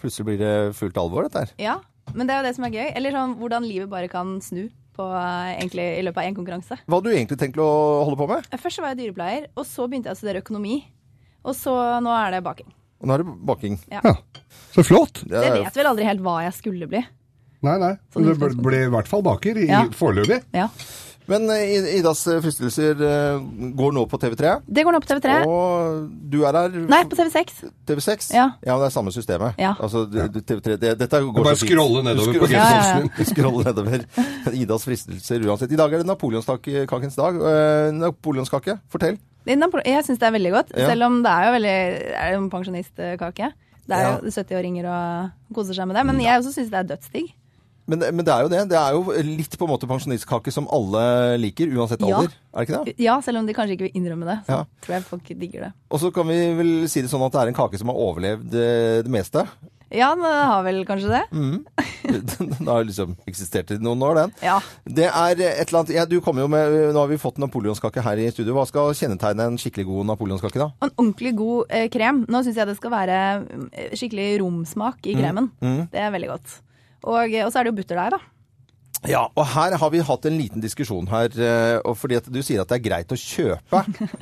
[SPEAKER 3] plutselig blir det fullt alvor, dette her.
[SPEAKER 12] Ja. Men det er jo det som er gøy. Eller sånn hvordan livet bare kan snu på, eh, egentlig, i løpet av én konkurranse.
[SPEAKER 3] Hva hadde du egentlig tenkt å holde på med?
[SPEAKER 12] Først så var jeg dyrepleier, og så begynte jeg å studere økonomi. Og så nå er det baking.
[SPEAKER 3] Og nå er det baking.
[SPEAKER 12] Ja.
[SPEAKER 4] Så flott!
[SPEAKER 12] Så jeg vet vel aldri helt hva jeg skulle bli.
[SPEAKER 4] Nei, nei. Men du ble, ble i hvert fall baker, i,
[SPEAKER 12] Sånn Ja.
[SPEAKER 4] foreløpig.
[SPEAKER 12] Ja.
[SPEAKER 3] Men eh, I- Idas eh, fristelser eh, går nå på TV3.
[SPEAKER 12] Det går nå på TV3.
[SPEAKER 3] Og du er her
[SPEAKER 12] Nei, på TV6.
[SPEAKER 3] TV6?
[SPEAKER 12] Ja.
[SPEAKER 3] men det er samme systemet.
[SPEAKER 12] Ja.
[SPEAKER 3] Altså, du- du- TV3, det, dette går
[SPEAKER 4] bare
[SPEAKER 3] så fint.
[SPEAKER 4] scrolle nedover
[SPEAKER 3] Du
[SPEAKER 4] på
[SPEAKER 3] scroller-
[SPEAKER 4] G-posten.
[SPEAKER 3] Du scroller nedover. Idas fristelser uansett. I dag er det napoleonskakens dag. Eh, Napoleonskake, fortell.
[SPEAKER 12] Det er napole- Jeg syns det er veldig godt,
[SPEAKER 3] Ja.
[SPEAKER 12] selv om det er jo veldig det er jo en pensjonistkake. Det er
[SPEAKER 3] Ja. Mm,
[SPEAKER 12] jo 70-åringer og koser seg med det. Men jeg også syns det er dødsdigg.
[SPEAKER 3] Men, men det er jo det. Det er jo litt på en måte pensjonistkake som alle liker, uansett
[SPEAKER 12] Ja.
[SPEAKER 3] alder. Er det ikke det?
[SPEAKER 12] Ja, selv om de kanskje ikke vil innrømme det. Så
[SPEAKER 3] Ja.
[SPEAKER 12] tror jeg folk digger det.
[SPEAKER 3] Og så kan vi vel si det sånn at det er en kake som har overlevd eh, det meste.
[SPEAKER 12] Ja, men det har vel kanskje det.
[SPEAKER 3] Mhm. den har liksom eksistert i noen år, den.
[SPEAKER 12] Ja.
[SPEAKER 3] Det er et eller annet ja, du kommer jo med, Nå har vi fått napoleonskake her i studio. Hva skal kjennetegne en skikkelig god napoleonskake, da?
[SPEAKER 12] Og en ordentlig god eh, krem. Nå syns jeg det skal være mm, skikkelig romsmak i
[SPEAKER 3] Mm.
[SPEAKER 12] kremen.
[SPEAKER 3] Mm.
[SPEAKER 12] Det er veldig godt. Og, eh, og så er det jo butterdeig, da.
[SPEAKER 3] Ja, og her har vi hatt en liten diskusjon her, eh, og fordi at du sier at det er greit å kjøpe.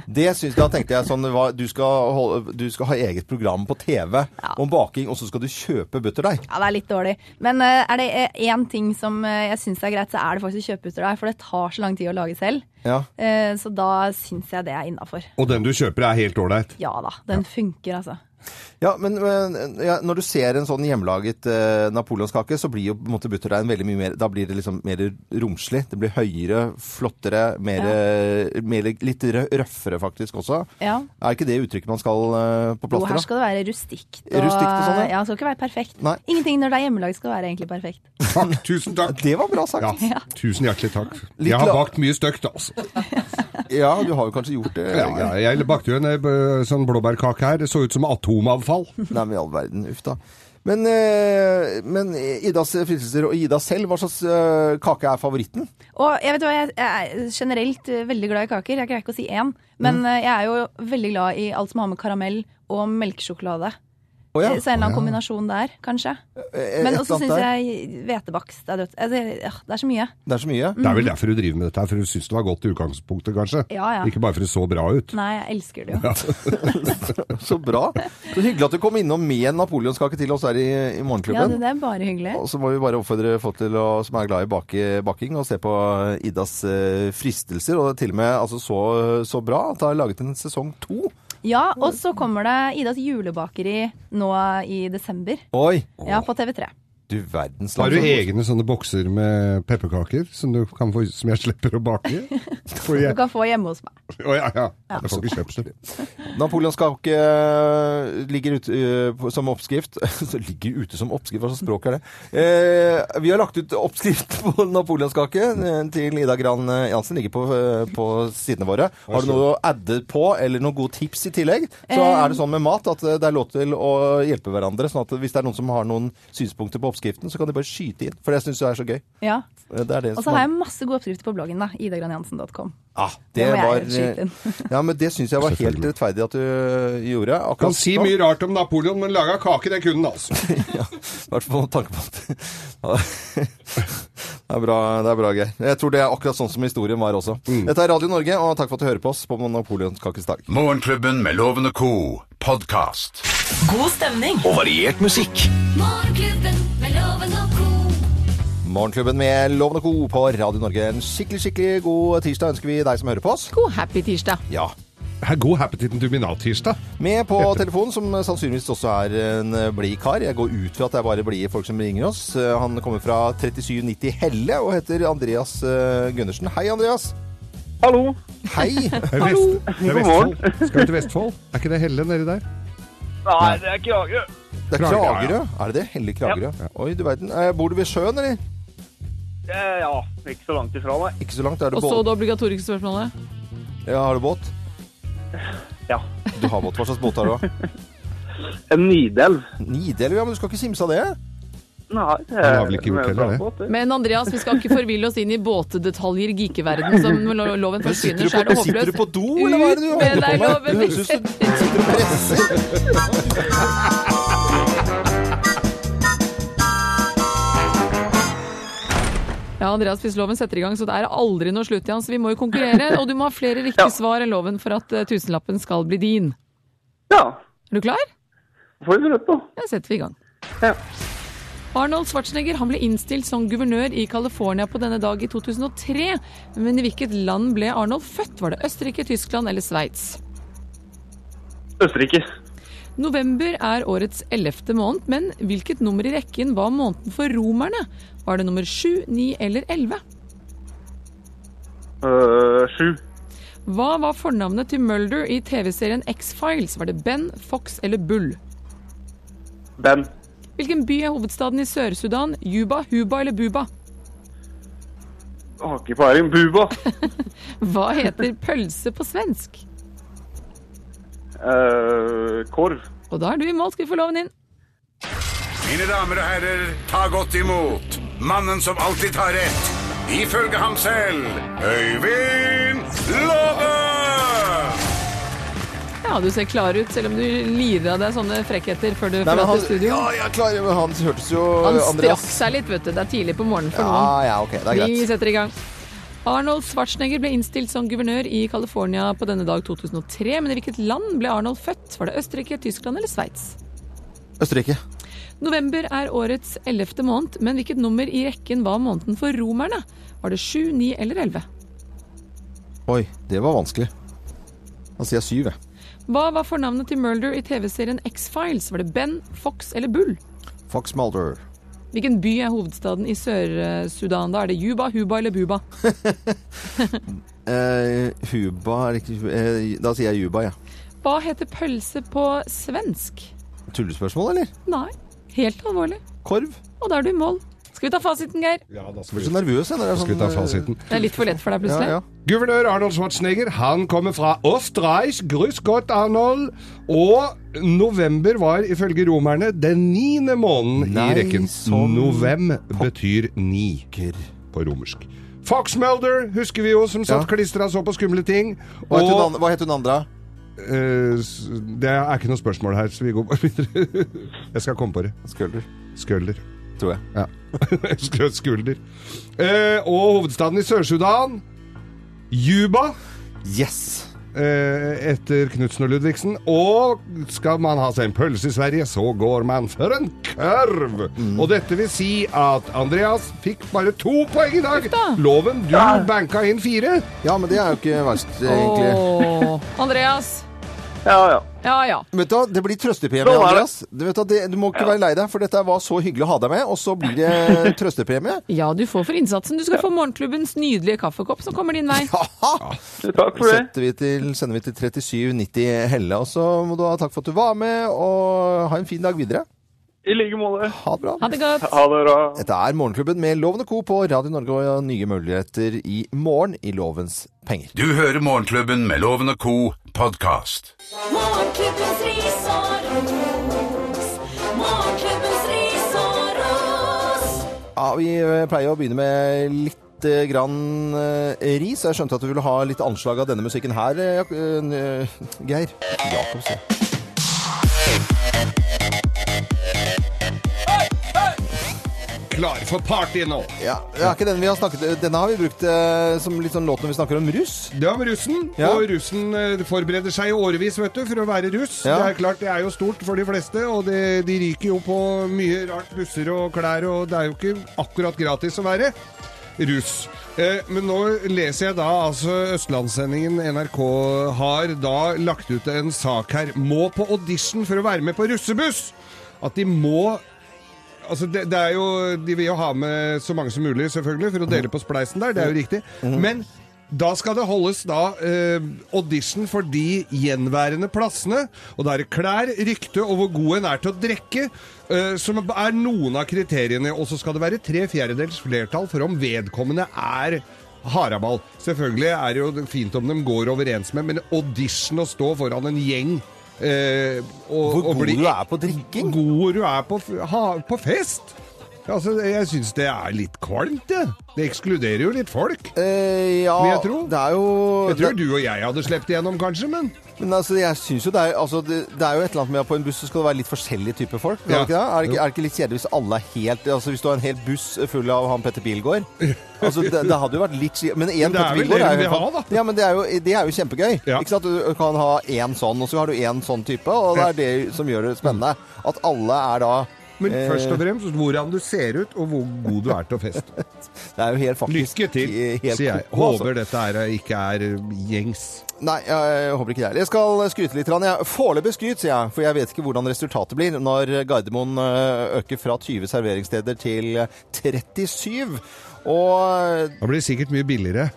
[SPEAKER 3] Det syns da tenkte jeg sånn hva, du, skal holde, du skal ha eget program på TV om baking, og så skal du kjøpe butterdeig.
[SPEAKER 12] Ja, det er litt dårlig. Men eh, er det eh, én ting som eh, jeg syns er greit, så er det faktisk å kjøpe butterdeig. For det tar så lang tid å lage selv.
[SPEAKER 4] Ja.
[SPEAKER 12] Eh, så da syns jeg det er innafor.
[SPEAKER 4] Og den du kjøper er helt ålreit.
[SPEAKER 12] Ja da, den funker, altså.
[SPEAKER 3] Ja, men, men ja, når du ser en sånn hjemmelaget eh, napoleonskake, så blir jo på en måte butterdeigen veldig mye mer Da blir det liksom mer romslig. Det blir høyere, flottere, mer, eh, mer litt rø- røffere faktisk også.
[SPEAKER 12] Ja.
[SPEAKER 3] Er ikke det uttrykket man skal eh, på
[SPEAKER 12] Og her
[SPEAKER 3] plaster, da?
[SPEAKER 12] skal det være rustikt.
[SPEAKER 3] Rustikt og sånn, ja.
[SPEAKER 12] ja. Det skal ikke være perfekt.
[SPEAKER 3] Nei.
[SPEAKER 12] Ingenting når det er hjemmelag skal være egentlig perfekt.
[SPEAKER 4] Takk, tusen takk.
[SPEAKER 3] Det var bra sagt.
[SPEAKER 12] Ja.
[SPEAKER 4] Tusen hjertelig takk.
[SPEAKER 3] Litt
[SPEAKER 4] jeg har
[SPEAKER 3] la-
[SPEAKER 4] bakt mye stygt, altså.
[SPEAKER 3] Ja, du har jo kanskje gjort det.
[SPEAKER 4] Ja, ja, jeg bakte jo en eh, b- sånn blåbærkake her. Det så ut som atomavfall.
[SPEAKER 3] Nei, men i all verden. Uff da. Men, eh, men Idas fristelser og Ida selv, hva slags eh, kake er favoritten?
[SPEAKER 12] Og jeg vet hva, jeg er generelt eh, veldig glad i kaker. Jeg greier ikke å si én.
[SPEAKER 3] Mm.
[SPEAKER 12] Men eh, jeg er jo veldig glad i alt som har med karamell og melkesjokolade.
[SPEAKER 3] Å ja.
[SPEAKER 12] Eh, Så en eller annen
[SPEAKER 3] Å ja.
[SPEAKER 12] kombinasjon der, kanskje.
[SPEAKER 3] Eh,
[SPEAKER 12] Men
[SPEAKER 3] et
[SPEAKER 12] også
[SPEAKER 3] eller
[SPEAKER 12] syns
[SPEAKER 3] annet
[SPEAKER 12] jeg hvetebakst er dødt. Eh, Det, ja, det er så mye.
[SPEAKER 3] Det er så mye.
[SPEAKER 4] Det er vel derfor du driver med dette, her, for du syns det var godt i utgangspunktet, kanskje?
[SPEAKER 12] Ja, ja.
[SPEAKER 4] Ikke bare for det så bra ut.
[SPEAKER 12] Nei, jeg elsker det jo.
[SPEAKER 4] Ja.
[SPEAKER 3] Så bra. Så hyggelig at du kom innom med en napoleonskake til oss her i, i
[SPEAKER 12] Ja,
[SPEAKER 3] Morgenklubben.
[SPEAKER 12] det, det er bare hyggelig.
[SPEAKER 3] og så må vi bare oppfordre folk til å, som er glad i bake, baking, å se på Idas eh, fristelser. Og det er til og med altså, så, så bra at det er laget en sesong to.
[SPEAKER 12] Ja, og så kommer det Idas julebakeri nå i desember.
[SPEAKER 3] Oi!
[SPEAKER 12] Ja, på TV3.
[SPEAKER 3] Du verdens
[SPEAKER 4] Har du
[SPEAKER 3] land.
[SPEAKER 4] egne sånne bokser med pepperkaker som, du kan få, som jeg slipper å bake i? For
[SPEAKER 12] Du
[SPEAKER 4] jeg,
[SPEAKER 12] kan få hjemme hos meg.
[SPEAKER 4] å, ja, ja. jeg får ikke kjøpt det.
[SPEAKER 3] Napoleonskake eh, ligger ute eh, på- som oppskrift. Så ligger ute som oppskrift, hva slags språk er det? Eh, vi har lagt ut oppskrift på napoleonskake eh, til Ida Gran Jansen. Ligger på, eh, på sidene våre. Har du noe å adde på, eller noen gode tips i tillegg? Så
[SPEAKER 12] Eh.
[SPEAKER 3] er det sånn med mat at eh, det er lov til å hjelpe hverandre. sånn at hvis det er noen som har noen synspunkter på oppskriften, så kan de bare skyte inn. For det syns jeg er så gøy.
[SPEAKER 12] Ja.
[SPEAKER 3] Eh, Det er det
[SPEAKER 12] Og så
[SPEAKER 3] som
[SPEAKER 12] har
[SPEAKER 3] er-
[SPEAKER 12] jeg masse gode oppskrifter på bloggen, da. idagranjansen.com.
[SPEAKER 3] Ah, det
[SPEAKER 12] Det må jeg
[SPEAKER 3] var, eh,
[SPEAKER 12] skyte inn.
[SPEAKER 3] ja, men det syns jeg var helt rettferdig at du gjorde. Akkurat
[SPEAKER 4] Kan si
[SPEAKER 3] nå.
[SPEAKER 4] mye rart om Napoleon, men laga kake, det kunne han altså.
[SPEAKER 3] I hvert fall med tanke på at ja, det, er bra, det er bra, Geir. Jeg tror det er akkurat sånn som historien var også. Dette er Radio Norge, og takk for at du hører på oss på Napoleonskakens dag.
[SPEAKER 2] Morgenklubben med Lovende Co. Podkast.
[SPEAKER 1] God stemning.
[SPEAKER 2] Og variert musikk.
[SPEAKER 1] Morgenklubben med loven og ko.
[SPEAKER 3] Morgenklubben med Loven og Co. på Radio Norge. En skikkelig, skikkelig god tirsdag ønsker vi deg som hører på oss.
[SPEAKER 5] God happy tirsdag.
[SPEAKER 3] Ja.
[SPEAKER 4] Her, God happetitten duminat-tirsdag.
[SPEAKER 3] Med på telefonen, som sannsynligvis også er en eh, blid kar. Jeg går ut fra at det er bare blide folk som ringer oss. Eh, Han kommer fra 3790 Helle og heter Andreas eh, Gundersen. Hei, Andreas.
[SPEAKER 13] Hallo.
[SPEAKER 3] Hei.
[SPEAKER 4] Det er Vest- det er Vestfold. Skal vi til Vestfold? Er ikke det Helle nedi der?
[SPEAKER 13] Nei, det er Kragerø.
[SPEAKER 3] Det er
[SPEAKER 4] Kragerø, ja.
[SPEAKER 3] Kragerø? Er det det? Hellig Kragerø? Oi, du verden. Eh, Bor du ved sjøen, eller?
[SPEAKER 13] Det er- Ja, ikke så langt ifra, nei.
[SPEAKER 3] Ikke så langt. Er det
[SPEAKER 5] Og så
[SPEAKER 3] båt?
[SPEAKER 5] det obligatoriske spørsmålet.
[SPEAKER 3] Ja, har du båt?
[SPEAKER 13] Ja.
[SPEAKER 3] Du har båt. Hva slags båt har du? da?
[SPEAKER 13] En Nidelv.
[SPEAKER 3] Nidelv, ja, men du skal ikke simse av det?
[SPEAKER 13] Nei, det
[SPEAKER 4] Han har vel ikke gjort heller, det.
[SPEAKER 5] Men Andreas, vi skal ikke forville oss inn i båtedetaljer, geekeverden, som lo- loven først
[SPEAKER 3] Sitter
[SPEAKER 5] begynner,
[SPEAKER 3] du
[SPEAKER 5] så er
[SPEAKER 3] på,
[SPEAKER 5] det
[SPEAKER 3] sitter du
[SPEAKER 5] håpløst.
[SPEAKER 3] på do, eller hva er det du
[SPEAKER 5] Ut med
[SPEAKER 3] holder
[SPEAKER 5] deg,
[SPEAKER 3] på med?
[SPEAKER 5] Loven.
[SPEAKER 3] Det høres ut som du sitter og presser.
[SPEAKER 5] Ja, Andreas, hvis loven setter i gang, så det er aldri noe slutt igjen, så vi må jo konkurrere. Og du må ha flere riktige svar enn loven for at eh, tusenlappen skal bli din.
[SPEAKER 13] Ja.
[SPEAKER 5] Er du klar?
[SPEAKER 13] får vi rødt, da.
[SPEAKER 5] Da setter vi i gang. Arnold Schwarzenegger han ble innstilt som guvernør i California på denne dag i 2003. Men i hvilket land ble Arnold født? Var det Østerrike, Tyskland eller Sveits?
[SPEAKER 13] Østerrike.
[SPEAKER 5] November er årets ellevte måned, men hvilket nummer i rekken var måneden for romerne? Var det nummer sju, ni eller elleve?
[SPEAKER 13] Øh, sju.
[SPEAKER 5] Hva var fornavnet til Mulder i TV-serien X-Files? Var det Ben, Fox eller Bull?
[SPEAKER 13] Ben.
[SPEAKER 5] Hvilken by er hovedstaden i Sør-Sudan? Juba, Huba eller Buba?
[SPEAKER 13] Har ikke peiling. Buba.
[SPEAKER 5] Hva heter pølse på svensk?
[SPEAKER 13] Øh, korv.
[SPEAKER 5] Og da er du i mål, skal vi få loven inn.
[SPEAKER 2] Mine damer og herrer, ta godt imot mannen som alltid tar rett, ifølge ham selv, Øyvind Låve!
[SPEAKER 5] Ja, du ser klar ut, selv om du lirer av deg sånne frekkheter før du
[SPEAKER 3] Nei, men
[SPEAKER 5] forlater
[SPEAKER 3] han,
[SPEAKER 5] studio.
[SPEAKER 3] ja, jeg klarer, men han hørtes jo
[SPEAKER 5] Han strakk
[SPEAKER 3] Andreas Ah,
[SPEAKER 5] seg litt, vet du. Det er tidlig på morgenen for noen.
[SPEAKER 3] Ja, ja, ok, det er
[SPEAKER 5] Vi
[SPEAKER 3] greit.
[SPEAKER 5] setter i gang. Arnold Schwarzenegger ble innstilt som guvernør i California på denne dag 2003, men i hvilket land ble Arnold født? Var det Østerrike, Tyskland eller Sveits?
[SPEAKER 3] Østerrike.
[SPEAKER 5] November er årets ellevte måned, men hvilket nummer i rekken var måneden for romerne? Var det sju, ni eller elleve?
[SPEAKER 3] Oi, det var vanskelig. Da sier jeg syv, jeg.
[SPEAKER 5] Hva var fornavnet til Mulder i TV-serien X-Files? Var det Ben, Fox eller Bull?
[SPEAKER 3] Fox Mulder.
[SPEAKER 5] Hvilken by er hovedstaden i Sør-Sudan? Da er det Juba, Huba eller Buba?
[SPEAKER 3] Eh, Huba er ikke eh, Da sier jeg Juba, jeg.
[SPEAKER 5] Hva heter pølse på svensk?
[SPEAKER 3] Ja. Tullespørsmål, eller?
[SPEAKER 5] Nei, helt alvorlig.
[SPEAKER 3] Korv?
[SPEAKER 5] Og da er du i mål. Skal vi ta fasiten, Geir?
[SPEAKER 3] Jeg blir så nervøs, jeg. når det er sånn, eh,
[SPEAKER 4] Da skal vi ta fasiten.
[SPEAKER 5] Det er litt for lett for deg plutselig.
[SPEAKER 4] Guvernør Arnold Schwarzenegger han kommer fra Österreich. Grüß Gott, Arnold. Og november var ifølge romerne den niende måneden
[SPEAKER 3] Nei,
[SPEAKER 4] i rekken.
[SPEAKER 3] som
[SPEAKER 4] Novem betyr ni på romersk. Fox Mulder husker vi jo, som satt klistra så på skumle ting.
[SPEAKER 3] Hva het hun an- hva het hun andre?
[SPEAKER 4] Eh, s- Det er ikke noe spørsmål her, så vi går bare videre. Jeg skal komme på det.
[SPEAKER 3] Skulder.
[SPEAKER 4] Skulder.
[SPEAKER 3] Tror jeg.
[SPEAKER 4] Ja. Skjøt Skulder. Eh, og hovedstaden i Sør-Sudan, Juba.
[SPEAKER 3] Yes!
[SPEAKER 4] Eh, etter Knutsen og Ludvigsen. Og skal man ha seg en pølse i Sverige, så går man for en kurv! Og dette vil si at Andreas fikk bare to poeng i dag! Loven, du banka inn fire.
[SPEAKER 3] Ja, men det er jo ikke verst, egentlig.
[SPEAKER 5] Åh, Andreas.
[SPEAKER 13] Ja, ja.
[SPEAKER 5] Ja, ja.
[SPEAKER 3] Vet du, hva, Det blir trøstepremie,
[SPEAKER 5] Sånn er det.
[SPEAKER 3] Andreas. Du, vet hva, det, du må ikke være lei deg, for dette var så hyggelig å ha deg med. Og så blir det trøstepremie.
[SPEAKER 5] Ja, du får for innsatsen. Du skal få morgenklubbens nydelige kaffekopp som kommer din vei.
[SPEAKER 13] Takk
[SPEAKER 5] for det.
[SPEAKER 3] Setter vi til, sender vi til 3790 Helle. Og så må du ha takk for at du var med, og ha en fin dag videre.
[SPEAKER 13] I like måte.
[SPEAKER 3] Ha det bra.
[SPEAKER 5] Ha det godt.
[SPEAKER 13] Ha det bra.
[SPEAKER 3] Dette er Morgenklubben med Loven og Co. på Radio Norge og nye muligheter i morgen i Lovens penger.
[SPEAKER 2] Du hører Morgenklubben med Loven og Co. podkast.
[SPEAKER 1] Morgenklubbens ris og ros. Morgenklubbens ris og ros.
[SPEAKER 3] Ja, Vi eh, pleier å begynne med litt eh, grann eh, ris. Jeg skjønte at du ville ha litt anslag av denne musikken her, eh, Jak- eh, Geir. Jakobsen.
[SPEAKER 4] Klar for party nå!
[SPEAKER 3] Ja, det er ikke den vi har snakket Denne har vi brukt eh, som litt sånn låt når vi snakker om russ.
[SPEAKER 4] Det var russen,
[SPEAKER 3] Ja.
[SPEAKER 4] og russen eh, forbereder seg i årevis vet du, for å være russ.
[SPEAKER 3] Ja.
[SPEAKER 4] Det er klart, det er jo stort for de fleste, og det, de ryker jo på mye rart busser og klær, og det er jo ikke akkurat gratis å være russ. Eh, men nå leser jeg da, altså Østlandssendingen NRK har da lagt ut en sak her. Må på audition for å være med på russebuss! At de må Altså det, det er jo, De vil jo ha med så mange som mulig, selvfølgelig, for å dele på spleisen der. Det er jo riktig.
[SPEAKER 3] Mhm.
[SPEAKER 4] Men da skal det holdes da eh, audition for de gjenværende plassene. Og da er det klær, rykte og hvor god en er til å drikke, eh, som er noen av kriteriene. Og så skal det være tre fjerdedels flertall for om vedkommende er haraball. Selvfølgelig er det jo fint om de går overens med, men audition å stå foran en gjeng eh, og,
[SPEAKER 3] Hvor
[SPEAKER 4] og
[SPEAKER 3] god
[SPEAKER 4] bli
[SPEAKER 3] du er på drikking?
[SPEAKER 4] God du er på, f- ha, på fest! Altså, jeg syns det er litt kvalmt, det. Det ekskluderer jo litt folk.
[SPEAKER 3] Eh, ja,
[SPEAKER 4] vil jeg tro.
[SPEAKER 3] det er jo
[SPEAKER 4] Jeg tror du og jeg hadde sluppet igjennom, kanskje, men
[SPEAKER 3] Men altså, jeg synes jo det er, altså, det, det er jo et eller annet med at på en buss så skal det være litt forskjellige typer folk. Er,
[SPEAKER 4] Ja.
[SPEAKER 3] det ikke det? Er, det ikke, er det ikke litt kjedelig hvis alle er helt Altså hvis du har en hel buss full av han Petter Bilgaard? Altså, det, det hadde jo vært litt kjedelig. Men
[SPEAKER 4] Men
[SPEAKER 3] én
[SPEAKER 4] det er
[SPEAKER 3] Petter
[SPEAKER 4] vel
[SPEAKER 3] Bilgaard
[SPEAKER 4] det
[SPEAKER 3] er jo
[SPEAKER 4] vi vil
[SPEAKER 3] helt Ja, men det er jo, det er jo kjempegøy. Ikke sant? Du kan ha én sånn, og så har du én sånn type, og det er det som gjør det spennende. At alle er da
[SPEAKER 4] Men først og fremst hvordan du ser ut, og hvor god du er til å feste.
[SPEAKER 3] Det er jo helt faktisk
[SPEAKER 4] Lykke til,
[SPEAKER 3] helt
[SPEAKER 4] sier jeg.
[SPEAKER 3] koko, altså.
[SPEAKER 4] Håper dette her ikke er eh, gjengs.
[SPEAKER 3] Nei, jeg håper ikke det. heller. Jeg skal skryte litt. grann, jeg. Foreløpig skryt, sier jeg. For jeg vet ikke hvordan resultatet blir når Gardermoen ø, øker fra 20 serveringssteder til 37. Og
[SPEAKER 4] Da blir det sikkert mye billigere.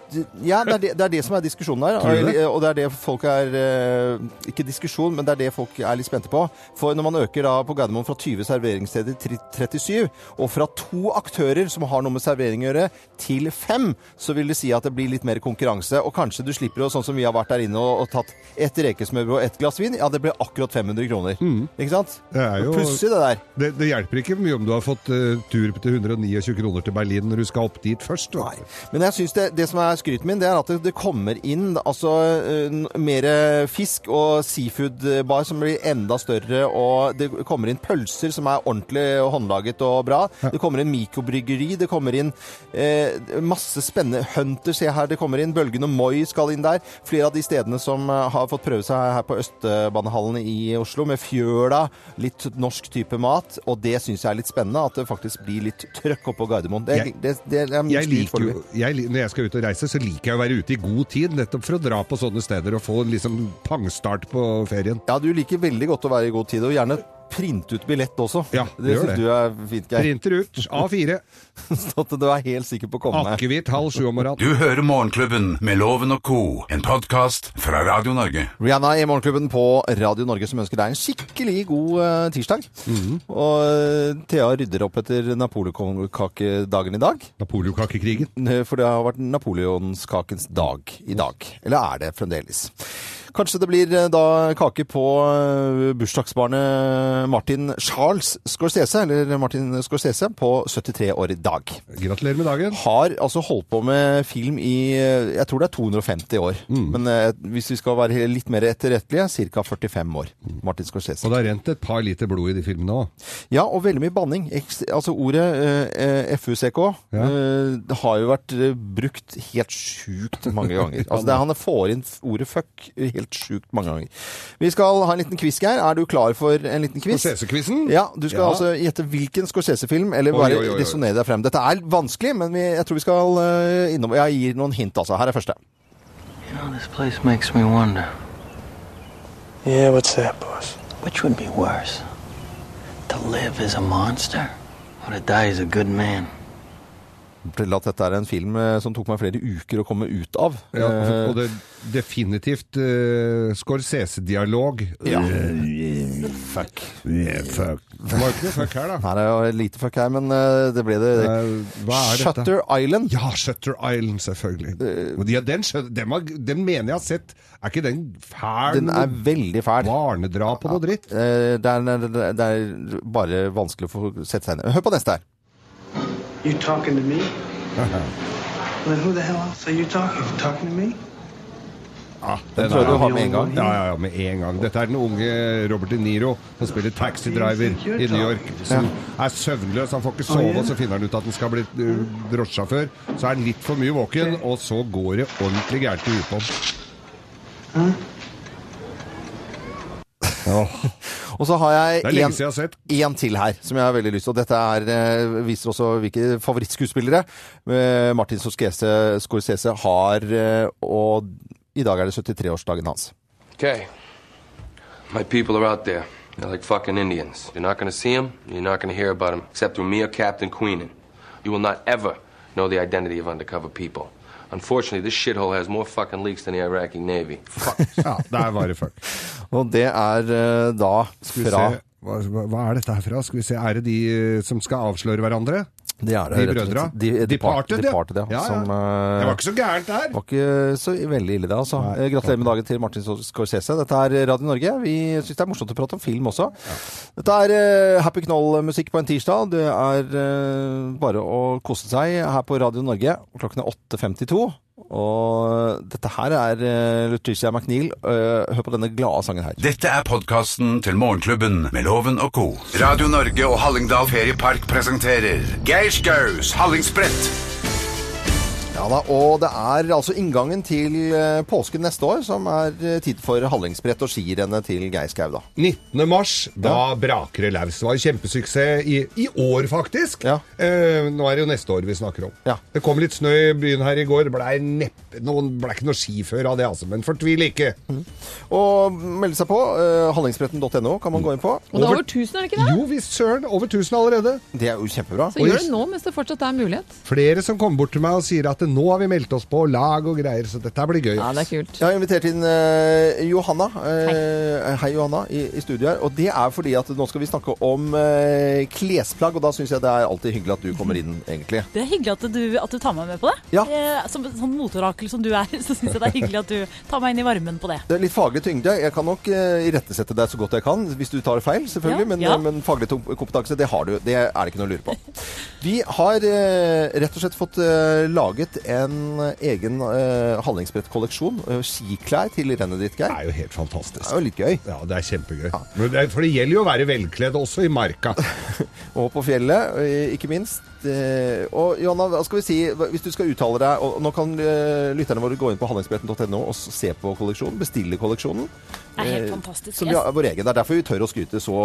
[SPEAKER 3] ja, det er det, det er det som er diskusjonen her.
[SPEAKER 4] Tror du det?
[SPEAKER 3] Og det er det folk er eh, Ikke diskusjon, men det er det folk er litt spente på. For når man øker da på Gardermoen fra 20 serveringssteder til 37, og fra to aktører som har noe med servering å gjøre, til fem, så vil det si at det blir litt mer konkurranse. Og kanskje du slipper å, sånn som vi har vært der inne og, og tatt et rekesmørbrød og et glass vin, ja, det blir akkurat 500 kroner. Ikke sant?
[SPEAKER 4] Mm. Det er jo
[SPEAKER 3] Pussig, det der.
[SPEAKER 4] Det, det hjelper ikke mye om du har fått eh, tur til 129 kroner til Berlin når du skal opp dit først. vet du.
[SPEAKER 3] Men jeg synes det, det som er skryten min, det er at det, det kommer inn altså, eh, n- mer fisk og seafood-bar som blir enda større, og det kommer inn pølser som er ordentlig og håndlaget og bra. Det kommer inn mikrobryggeri, det kommer inn eh, masse spennende Hunter, se her, det kommer inn Bølgen og Moi skal inn der. Flere av de stedene som eh, har fått prøve seg her på Østbanehallen i Oslo, med fjøla, litt norsk type mat, og det synes jeg er litt spennende, at det faktisk blir litt trøkk oppå Gardermoen. Det,
[SPEAKER 4] Jeg-
[SPEAKER 3] det, det, det er
[SPEAKER 4] Jeg
[SPEAKER 3] skryt
[SPEAKER 4] liker jo,
[SPEAKER 3] foreløpig.
[SPEAKER 4] jeg, li- når jeg skal ut og reise, så liker jeg å være ute i god tid, nettopp for å dra på sånne steder og få en liksom pangstart på ferien.
[SPEAKER 3] Ja, du liker veldig godt å være i god tid, og gjerne printe ut billett også. Ja, det
[SPEAKER 4] gjør
[SPEAKER 3] syns
[SPEAKER 4] det.
[SPEAKER 3] du er fint, Geir.
[SPEAKER 4] Printer ut, A4.
[SPEAKER 3] Så at du er helt sikker på å komme.
[SPEAKER 4] Akevitt halv sju om morgenen.
[SPEAKER 2] Du hører Morgenklubben med Loven og co., en podkast fra Radio Norge.
[SPEAKER 3] Rihanna i Morgenklubben på Radio Norge som ønsker deg en skikkelig god eh, tirsdag.
[SPEAKER 4] Mhm.
[SPEAKER 3] Og eh, Thea rydder opp etter napoleonkakedagen i dag. Eh,
[SPEAKER 4] Napoleonkakekrigen.
[SPEAKER 3] For det har vært napoleonskakens dag i dag. Eller er det fremdeles? Kanskje det blir eh, da kake på eh, bursdagsbarnet Martin Charles Scorsese, eller Martin Scorsese, på 73 år i dag.
[SPEAKER 4] Gratulerer med dagen.
[SPEAKER 3] Har altså holdt på med film i eh, jeg tror det er 250 år. Men eh, hvis vi skal være litt mer etterrettelige, ca. 45 år. Martin Scorsese.
[SPEAKER 4] Og det har rent et par liter blod i de filmene òg.
[SPEAKER 3] Ja, og veldig mye banning. Eks- Altså ordet eh, eh, FUCK eh, det har jo vært eh, brukt helt sjukt mange ganger. Altså det, er- Han får inn f- ordet fuck helt sjukt mange ganger. Vi skal ha en liten quiz, Geir. Er du klar for en liten quiz?
[SPEAKER 4] Scorsese-quizen?
[SPEAKER 3] Ja, du skal
[SPEAKER 4] Ja.
[SPEAKER 3] altså gjette hvilken Scorsese-film, eller
[SPEAKER 4] Oi,
[SPEAKER 3] bare
[SPEAKER 4] oi, oi, oi.
[SPEAKER 3] resonnere deg frem. Dette er vanskelig, men vi, jeg tror vi skal eh, innom Jeg gir noen hint, altså. Her er første.
[SPEAKER 14] This place makes me wonder. Yeah, what's that, boss? Which would be worse? To live as a monster or to die as a good man?
[SPEAKER 3] Fortell at dette er en film eh, som tok meg flere uker å komme ut av.
[SPEAKER 4] Ja,
[SPEAKER 3] Eh,
[SPEAKER 4] og- og det er definitivt eh, Scorsese-dialog.
[SPEAKER 3] Ja.
[SPEAKER 4] Fuck. Yeah, fuck. Det var jo ikke noe fuck her, da.
[SPEAKER 3] Her er jo lite fuck her, men eh, det ble det.
[SPEAKER 4] Eh, Hva er dette?
[SPEAKER 3] Shutter Island.
[SPEAKER 4] Ja, Shutter Island, selvfølgelig.
[SPEAKER 3] Eh.
[SPEAKER 4] Og de- ja, den, skjø- den, har- den mener jeg har sett. Er ikke den fæl?
[SPEAKER 3] Den er
[SPEAKER 4] noe
[SPEAKER 3] veldig fæl.
[SPEAKER 4] Barnedrap og noe dritt.
[SPEAKER 3] Eh, Det er, det er- det er bare vanskelig å få sette seg inn i. Hør på neste her.
[SPEAKER 15] You talking to me? Then who the hell else are you talking? You talking to me?
[SPEAKER 4] Ja,
[SPEAKER 3] Den tror jeg du har med en gang.
[SPEAKER 4] Ja, ja, ja, med en gang. Dette er den unge Robert De Niro som spiller taxidriver i New York. Som er søvnløs, han får ikke sove, og så finner han ut at han skal bli eh, drosjesjåfør. Så er han litt for mye våken, og så går det ordentlig gærent i huet på ham. Åh.
[SPEAKER 3] Og så har jeg
[SPEAKER 4] Det er lenge
[SPEAKER 3] en-
[SPEAKER 4] siden jeg har sett.
[SPEAKER 3] en til her som jeg har veldig lyst til. Og dette er, eh, viser også hvilke favorittskuespillere eh, Martin Scorsese, Scorsese har. eh, Og i dag er det 73-årsdagen hans.
[SPEAKER 11] Okay. My people are out there. They're like fucking Indians. You're not gonna see them, you're not gonna hear about them, except through me or Captain Queenan. You will not ever know the identity of undercover people. Unfortunately, this shithole has more fucking leaks than the Iraqi Navy. Fuck.
[SPEAKER 4] Ja, der var det fuck.
[SPEAKER 3] Og det er eh, da
[SPEAKER 4] Skal vi
[SPEAKER 3] fra
[SPEAKER 4] se, hva, hva er dette her fra? Skal vi se, Er det de eh, som skal avsløre hverandre?
[SPEAKER 3] Det er det,
[SPEAKER 4] De
[SPEAKER 3] rett og slett.
[SPEAKER 4] brødra?
[SPEAKER 3] De, de,
[SPEAKER 4] Departed,
[SPEAKER 3] Departed,
[SPEAKER 4] ja.
[SPEAKER 3] ja.
[SPEAKER 4] Ja, ja.
[SPEAKER 3] Som, eh,
[SPEAKER 4] Det var ikke så gærent der.
[SPEAKER 3] Var ikke så veldig ille det, altså. Eh, Gratulerer med dagen til Martin Scorsese. Dette er eh, Radio Norge. Vi syns det er morsomt å prate om film også. Dette er eh, Happy Knoll-musikk på en tirsdag. Det er eh, bare å kose seg her på Radio Norge. Klokken er 8.52. Og dette her er eh, Lutricia McNeil. Eh, Hør på denne glade sangen her.
[SPEAKER 2] Dette er podkasten til Morgenklubben med Loven og co. Radio Norge og Hallingdal Feriepark presenterer Geir Skaus Hallingsbrett.
[SPEAKER 3] Ja da, og det er altså inngangen til eh, påsken neste år som er eh, tid for hallingsbrett og skirennet til Geir Skau, da.
[SPEAKER 4] 19. mars, da braker det løs. Det var en kjempesuksess i, i år, faktisk. Eh, nå er det jo neste år vi snakker om. Det kom litt snø i byen her i går. Det blei neppe noen- ble ikke noe skiføre av det, altså. Men fortvil ikke.
[SPEAKER 3] Og melde seg på. Uh, Hallingsbretten.no kan man gå inn på.
[SPEAKER 5] Og det er over 1000, er det ikke det?
[SPEAKER 4] Jo visst søren, over 1000 allerede.
[SPEAKER 3] Det er jo kjempebra.
[SPEAKER 5] Så gjør det nå mens det fortsatt er en mulighet.
[SPEAKER 4] Flere som kommer bort til meg og sier at nå har vi meldt oss på lag og greier, så dette blir gøy.
[SPEAKER 5] Ja, det er kult.
[SPEAKER 3] Jeg har invitert inn eh, Johanna. Eh, hei, Johanna, i, i studio her. Og det er fordi at nå skal vi snakke om eh, klesplagg, og da syns jeg det er alltid hyggelig at du kommer inn, egentlig.
[SPEAKER 16] Det er hyggelig at du, at du tar meg med på det. Eh, Som en sånn motorakel som du er, så syns jeg det er hyggelig at du tar meg inn i varmen på det.
[SPEAKER 3] Det er litt faglig tyngde. Jeg kan nok eh, irettesette deg så godt jeg kan, hvis du tar feil, selvfølgelig.
[SPEAKER 16] Ja,
[SPEAKER 3] men, eh,
[SPEAKER 16] ja.
[SPEAKER 3] men faglig tom- kompetanse, det har du. Det er det ikke noe å lure på. Vi har eh, rett og slett fått eh, laget en egen eh, hallingsbrettkolleksjon. eh, skiklær til rennet ditt, Geir. Det
[SPEAKER 4] er jo helt fantastisk.
[SPEAKER 3] Det er jo litt gøy.
[SPEAKER 4] Ja, det er kjempegøy. Men det er- For det gjelder jo å være velkledd også i marka.
[SPEAKER 3] og på fjellet, eh, ikke minst. Eh, Og Johanna, hva skal vi si, hva- hvis du skal uttale deg og Nå kan eh, lytterne våre gå inn på hallingsbretten.no og s- se på kolleksjonen, bestille kolleksjonen.
[SPEAKER 16] Det er helt
[SPEAKER 3] Eh,
[SPEAKER 16] fantastisk.
[SPEAKER 3] Som vi har- vår egen. Det er derfor vi tør å skryte så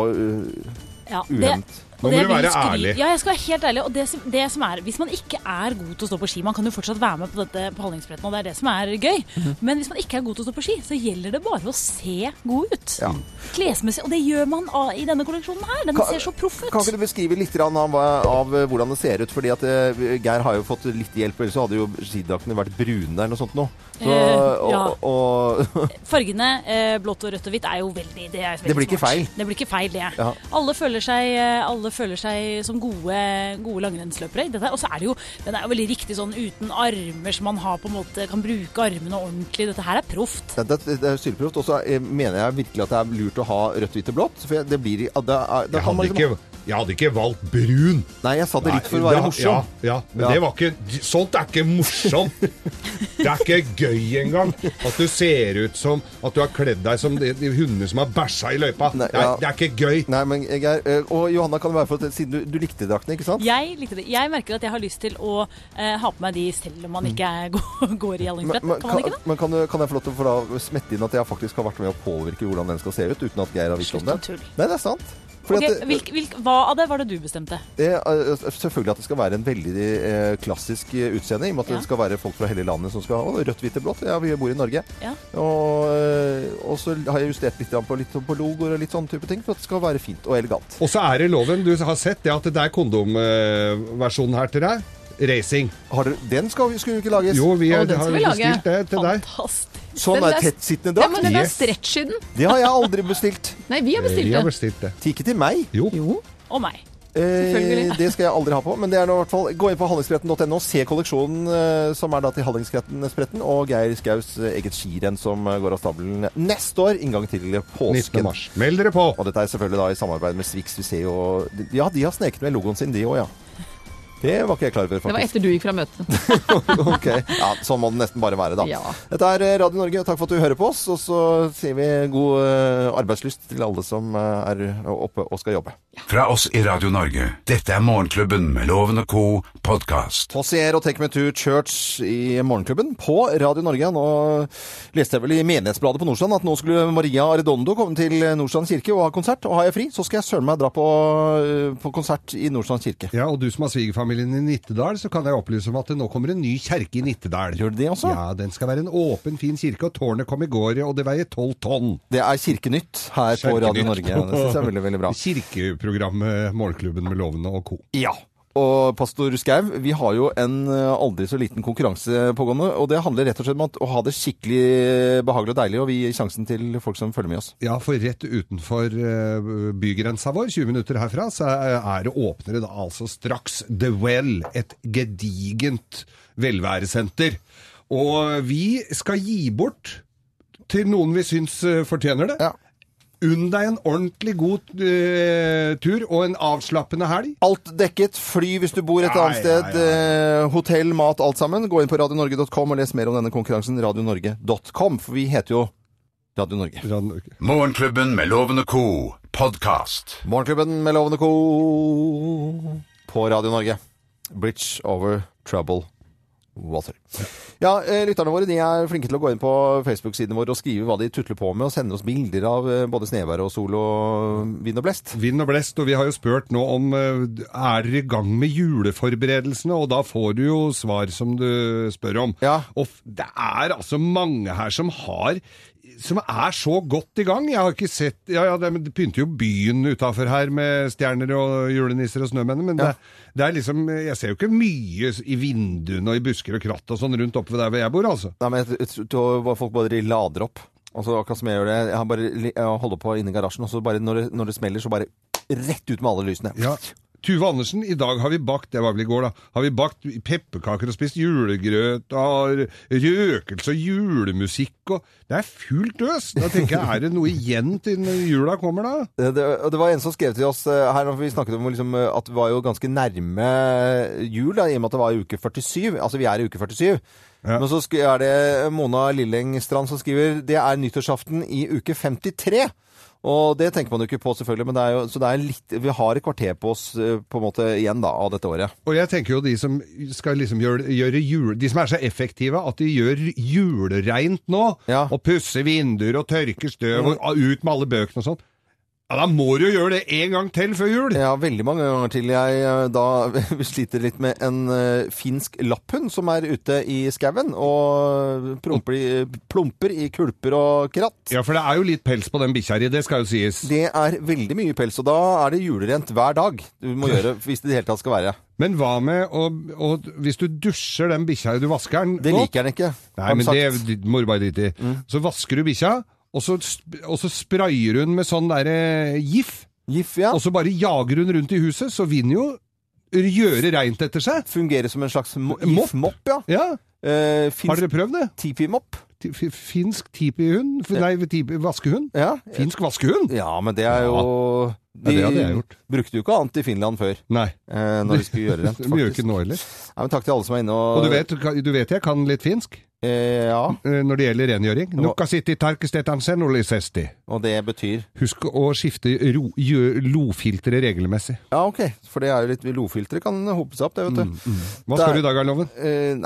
[SPEAKER 3] eh,
[SPEAKER 16] Ja, det-
[SPEAKER 3] ujevnt.
[SPEAKER 16] og det vil skry- Ja, jeg skal være helt ærlig. Og det som, det som er, hvis man ikke er god til å stå på ski Man kan jo fortsatt være med på dette på Hallingsbretten, og det er det som er gøy.
[SPEAKER 3] Mhm.
[SPEAKER 16] Men hvis man ikke er god til å stå på ski, så gjelder det bare å se god ut.
[SPEAKER 3] Ja.
[SPEAKER 16] Klesmessig. Og det gjør man av, i denne kolleksjonen her. Den
[SPEAKER 3] Ka-
[SPEAKER 16] ser så proff ut.
[SPEAKER 3] Kan ikke du beskrive litt grann av, hva- av eh, hvordan det ser ut? Fordi at eh, Geir har jo fått litt hjelp, ellers så hadde jo skidraktene vært brune eller noe sånt nå. Så,
[SPEAKER 16] Eh, ja.
[SPEAKER 3] og, og,
[SPEAKER 16] Fargene eh, blått og rødt og hvitt er jo veldig Det, er veldig
[SPEAKER 3] Det blir ikke
[SPEAKER 16] smart.
[SPEAKER 3] feil.
[SPEAKER 16] Det blir ikke feil, det.
[SPEAKER 3] Ja.
[SPEAKER 16] Alle føler seg, eh, alle føler seg som gode, gode langrennsløpere. i dette her. Og så er det jo den er jo veldig riktig sånn uten armer, så man har på en måte, kan bruke armene ordentlig. Dette her er proft.
[SPEAKER 3] Det, det, det er sylproft. Og så eh, mener jeg virkelig at det er lurt å ha rødt, hvitt og blått. For jeg- det blir ja, det er, det
[SPEAKER 4] Jeg hadde, ikke, jeg hadde ikke valgt brun.
[SPEAKER 3] liksom Nei, jeg sa det litt for å være
[SPEAKER 4] da-
[SPEAKER 3] morsom.
[SPEAKER 4] Ja, ja, men
[SPEAKER 3] Ja.
[SPEAKER 4] det var ikke Sånt er ikke morsomt. Det er ikke gøy engang. At du ser ut som At du har kledd deg som de, de hundene som har bæsja i løypa. det, er,
[SPEAKER 3] ja.
[SPEAKER 4] det er ikke gøy.
[SPEAKER 3] Nei, men Geir, eh, og Johanna, kan det være for at eh, siden du, du likte draktene, ikke sant?
[SPEAKER 16] Jeg likte det. Jeg merker at jeg har lyst til å eh, ha på meg de selv om man ikke er, går, går i
[SPEAKER 3] Mm. Men,
[SPEAKER 16] Hallingsbrett.
[SPEAKER 3] men,
[SPEAKER 16] Kan man ikke
[SPEAKER 3] kan,
[SPEAKER 16] det?
[SPEAKER 3] men kan, du- kan jeg få lov til å få da smette inn at jeg faktisk har vært med å påvirke hvordan den skal se ut, uten at Geir har visst om
[SPEAKER 16] Slutt å
[SPEAKER 3] det?
[SPEAKER 16] tulle.
[SPEAKER 3] Nei, det er sant.
[SPEAKER 16] Ok,
[SPEAKER 3] Fordi at eh, det-
[SPEAKER 16] hvilk, hvilk, hva av det var det du bestemte?
[SPEAKER 3] det er, eh, selvfølgelig at det skal være en veldig eh, klassisk eh, utseende, i og med at
[SPEAKER 16] Ja.
[SPEAKER 3] det skal være folk fra hele landet som skal ha å, rødt, hvitt og blått. Ja, vi bor i Norge.
[SPEAKER 16] Ja.
[SPEAKER 3] Og, eh, og så har jeg justert litt grann på, litt på logoer og litt sånne type ting, for at det skal være fint og elegant.
[SPEAKER 4] Og så er det loven. Du har sett det at det er kondomversjonen her til deg. Racing.
[SPEAKER 3] den skal, skulle jo ikke lages.
[SPEAKER 4] Jo, vi
[SPEAKER 5] Å,
[SPEAKER 4] har
[SPEAKER 5] den skal vi lage.
[SPEAKER 4] bestilt det til deg.
[SPEAKER 3] Sånn
[SPEAKER 5] Den
[SPEAKER 3] er
[SPEAKER 5] der-
[SPEAKER 3] tettsittende
[SPEAKER 5] Ja, men
[SPEAKER 3] drakt.
[SPEAKER 5] den der
[SPEAKER 3] Yes.
[SPEAKER 5] stretchy den.
[SPEAKER 3] Det har jeg aldri bestilt.
[SPEAKER 5] Nei, vi har bestilt den.
[SPEAKER 4] bestilt det.
[SPEAKER 3] Ikke til meg.
[SPEAKER 4] Jo.
[SPEAKER 16] Og meg.
[SPEAKER 3] Eh,
[SPEAKER 5] Selvfølgelig.
[SPEAKER 3] det skal jeg aldri ha på, men det er nå i hvert fall Gå inn på hallingsbretten.no, se kolleksjonen eh, som er da til Hallingsbretten og Geir Skaus eh, eget skirenn som eh, går av stabelen neste år. Inngang til påsken.
[SPEAKER 4] 19. mars. Meld dere på!
[SPEAKER 3] Og dette er selvfølgelig da i samarbeid med Swix. Vi ser jo Ja, de har sneket med logoen sin, de òg, ja. Det var ikke jeg klar over,
[SPEAKER 5] Det var
[SPEAKER 3] faktisk.
[SPEAKER 5] etter du gikk fra møtet.
[SPEAKER 3] ok. Ja, sånn må det nesten bare være, da.
[SPEAKER 5] Ja.
[SPEAKER 3] Dette er eh, Radio Norge, takk for at du hører på oss. Og så sier vi god eh, arbeidslyst til alle som eh, er oppe og skal jobbe.
[SPEAKER 2] Fra oss i Radio Norge, dette er Morgenklubben med Loven og co. podkast.
[SPEAKER 3] Tossier og Take Me To Church i Morgenklubben på Radio Norge. Nå leste jeg vel i Menighetsbladet på Nordstrand at nå skulle Maria Arredondo komme til Nordstrand kirke og ha konsert. Og har jeg fri, så skal jeg søren meg dra på, eh, på konsert i Nordstrand kirke.
[SPEAKER 4] Ja, og du som har svigerfamilien i Nittedal, så kan jeg opplyse om at det nå kommer en ny kjerke i Nittedal.
[SPEAKER 3] Gjør det også?
[SPEAKER 4] Ja, den skal være en åpen, fin kirke, og tårnet kom i går, og det veier tolv tonn.
[SPEAKER 3] Det er Kirkenytt her på Radio Norge. Det synes jeg er veldig, veldig bra.
[SPEAKER 4] Kirkeprogrammet Morgenklubben med Lovende og co.
[SPEAKER 3] Ja. og pastor Skau, vi har jo en eh, aldri så liten konkurranse pågående. Og det handler rett og slett om at å ha det skikkelig behagelig og deilig, og vi gir sjansen til folk som følger med oss.
[SPEAKER 4] Ja, for rett utenfor eh, bygrensa vår, 20 minutter herfra, så er er det åpnere da altså straks The Well, et gedigent velværesenter. Og vi skal gi bort til noen vi syns eh, fortjener det. Unn deg en ordentlig god eh, tur og en avslappende helg.
[SPEAKER 3] Alt dekket. Fly hvis du bor et
[SPEAKER 4] Ja,
[SPEAKER 3] annet
[SPEAKER 4] ja,
[SPEAKER 3] sted. eh, Hotell, mat, alt sammen. Gå inn på radionorge.com og les mer om denne konkurransen. Radionorge.com, for vi heter jo Radio Norge.
[SPEAKER 2] Morgenklubben med Lovende Co. Podcast.
[SPEAKER 3] Morgenklubben med Lovende Co. på Radio Norge. Bridge over trouble water. Ja, eh, lytterne våre de er flinke til å gå inn på Facebook-siden vår og skrive hva de tutler på med, og sende oss bilder av eh, både snevær og sol og vind og blest.
[SPEAKER 4] Vind og blest, og vi har jo spurt nå om eh, er dere i gang med juleforberedelsene, og da får du jo svar som du spør om. Og f- det er altså mange her som har som er så godt i gang. Jeg har ikke sett Ja, ja, det, men det pynter jo byen utafor her med stjerner og julenisser og snømenn, men det, det er liksom Jeg ser jo ikke mye i vinduene og i busker og kratt og sånn rundt oppe ved der hvor jeg bor, altså.
[SPEAKER 3] Nei, men jeg tror- tror folk bare lader opp. Altså, akkurat som jeg gjør det. Jeg, har bare, li- jeg holder på inne i garasjen, og så bare når det, når det smeller, så bare rett ut med alle lysene.
[SPEAKER 4] Ja. Tuve Andersen, i dag har vi bakt det var vel i går da, har vi bakt pepperkaker og spist julegrøt og røkelse og julemusikk. Og det er fullt øs! Da tenker jeg, er det noe igjen til når jula kommer da?
[SPEAKER 3] Det, Eh, det, og det var en som skrev til oss eh, her, for vi snakket om liksom, eh, at det var jo ganske nærme eh, jul, da, i og med at det var i uke 47. Altså, vi er i uke 47. Men så sk- er det Mona Lillengstrand som skriver det er nyttårsaften i uke 53. Og det tenker man jo ikke på, selvfølgelig, men det er jo, så det er litt, vi har et kvarter på oss eh, på en måte igjen da, av dette året.
[SPEAKER 4] Og jeg tenker jo de som skal liksom gjøre, gjøre jul, de som er så effektive at de gjør julereint nå, og pusser vinduer og tørker støv og ut med alle bøkene og sånn. Ja, da må du jo gjøre det en gang til før jul!
[SPEAKER 3] Ja, veldig mange ganger til. Jeg eh, da sliter litt med en eh, finsk lapphund som er ute i skauen og promper i, plumper i kulper og kratt.
[SPEAKER 4] Ja, for det er jo litt pels på den bikkja di, det skal jo sies.
[SPEAKER 3] Det er veldig mye pels, og da er det julerent hver dag du må gjøre hvis det i det hele tatt skal være.
[SPEAKER 4] Men hva med å, å Hvis du dusjer den bikkja du vasker den
[SPEAKER 3] Det
[SPEAKER 4] nå-
[SPEAKER 3] liker Mm. han ikke.
[SPEAKER 4] Nei,
[SPEAKER 3] har de
[SPEAKER 4] men det
[SPEAKER 3] sagt.
[SPEAKER 4] det må du bare drite i. Så vasker du bikkja, og så, sp- og så sprayer hun med sånn derre gif. Og så bare jager hun rundt i huset, så vinner jo gjøre reint etter seg.
[SPEAKER 3] Fungerer som en slags mo mopp, ja. Eh, finsk,
[SPEAKER 4] Har dere prøvd det?
[SPEAKER 3] Tipi-mopp.
[SPEAKER 4] Finsk tipihund? F- Nei, tipi, vaskehund? Finsk vaskehund?
[SPEAKER 3] Ja, men det er jo
[SPEAKER 4] Ja, det hadde jeg gjort.
[SPEAKER 3] brukte jo ikke annet i Finland før.
[SPEAKER 4] Nei.
[SPEAKER 3] Eh, når de skulle gjøre rent,
[SPEAKER 4] De gjør ikke nå heller.
[SPEAKER 3] Nei, men takk til alle som er inne og
[SPEAKER 4] Og du vet, du vet jeg kan litt finsk?
[SPEAKER 3] Eh,
[SPEAKER 4] eh,
[SPEAKER 3] ja.
[SPEAKER 4] Når det gjelder rengjøring. Nukka sitti tarkestetan senolisesti.
[SPEAKER 3] Og det betyr
[SPEAKER 4] Husk å skifte ro, gjø- lofilteret regelmessig.
[SPEAKER 3] Ja, OK. For det er jo litt Lofilteret kan hope seg opp, det, vet du.
[SPEAKER 4] Mm, Hva skal du i dag, Arloven?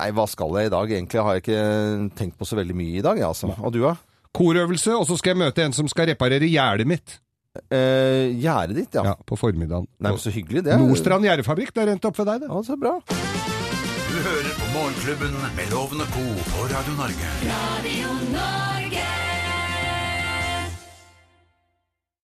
[SPEAKER 3] nei, hva skal jeg i dag? Egentlig har jeg ikke tenkt på så veldig mye i dag, jeg, altså. Og du, da?
[SPEAKER 4] Korøvelse, og så skal jeg møte en som skal reparere gjerdet mitt.
[SPEAKER 3] Eh, gjerdet ditt, ja.
[SPEAKER 4] ja. På formiddagen.
[SPEAKER 3] Nei, men så hyggelig, det.
[SPEAKER 4] Nordstrand gjerdefabrikk, det er rent opp for deg, det.
[SPEAKER 3] Ja, så bra.
[SPEAKER 2] Du hører på Morgenklubben med Lovende Co. på Radio Norge.
[SPEAKER 1] Radio Norge.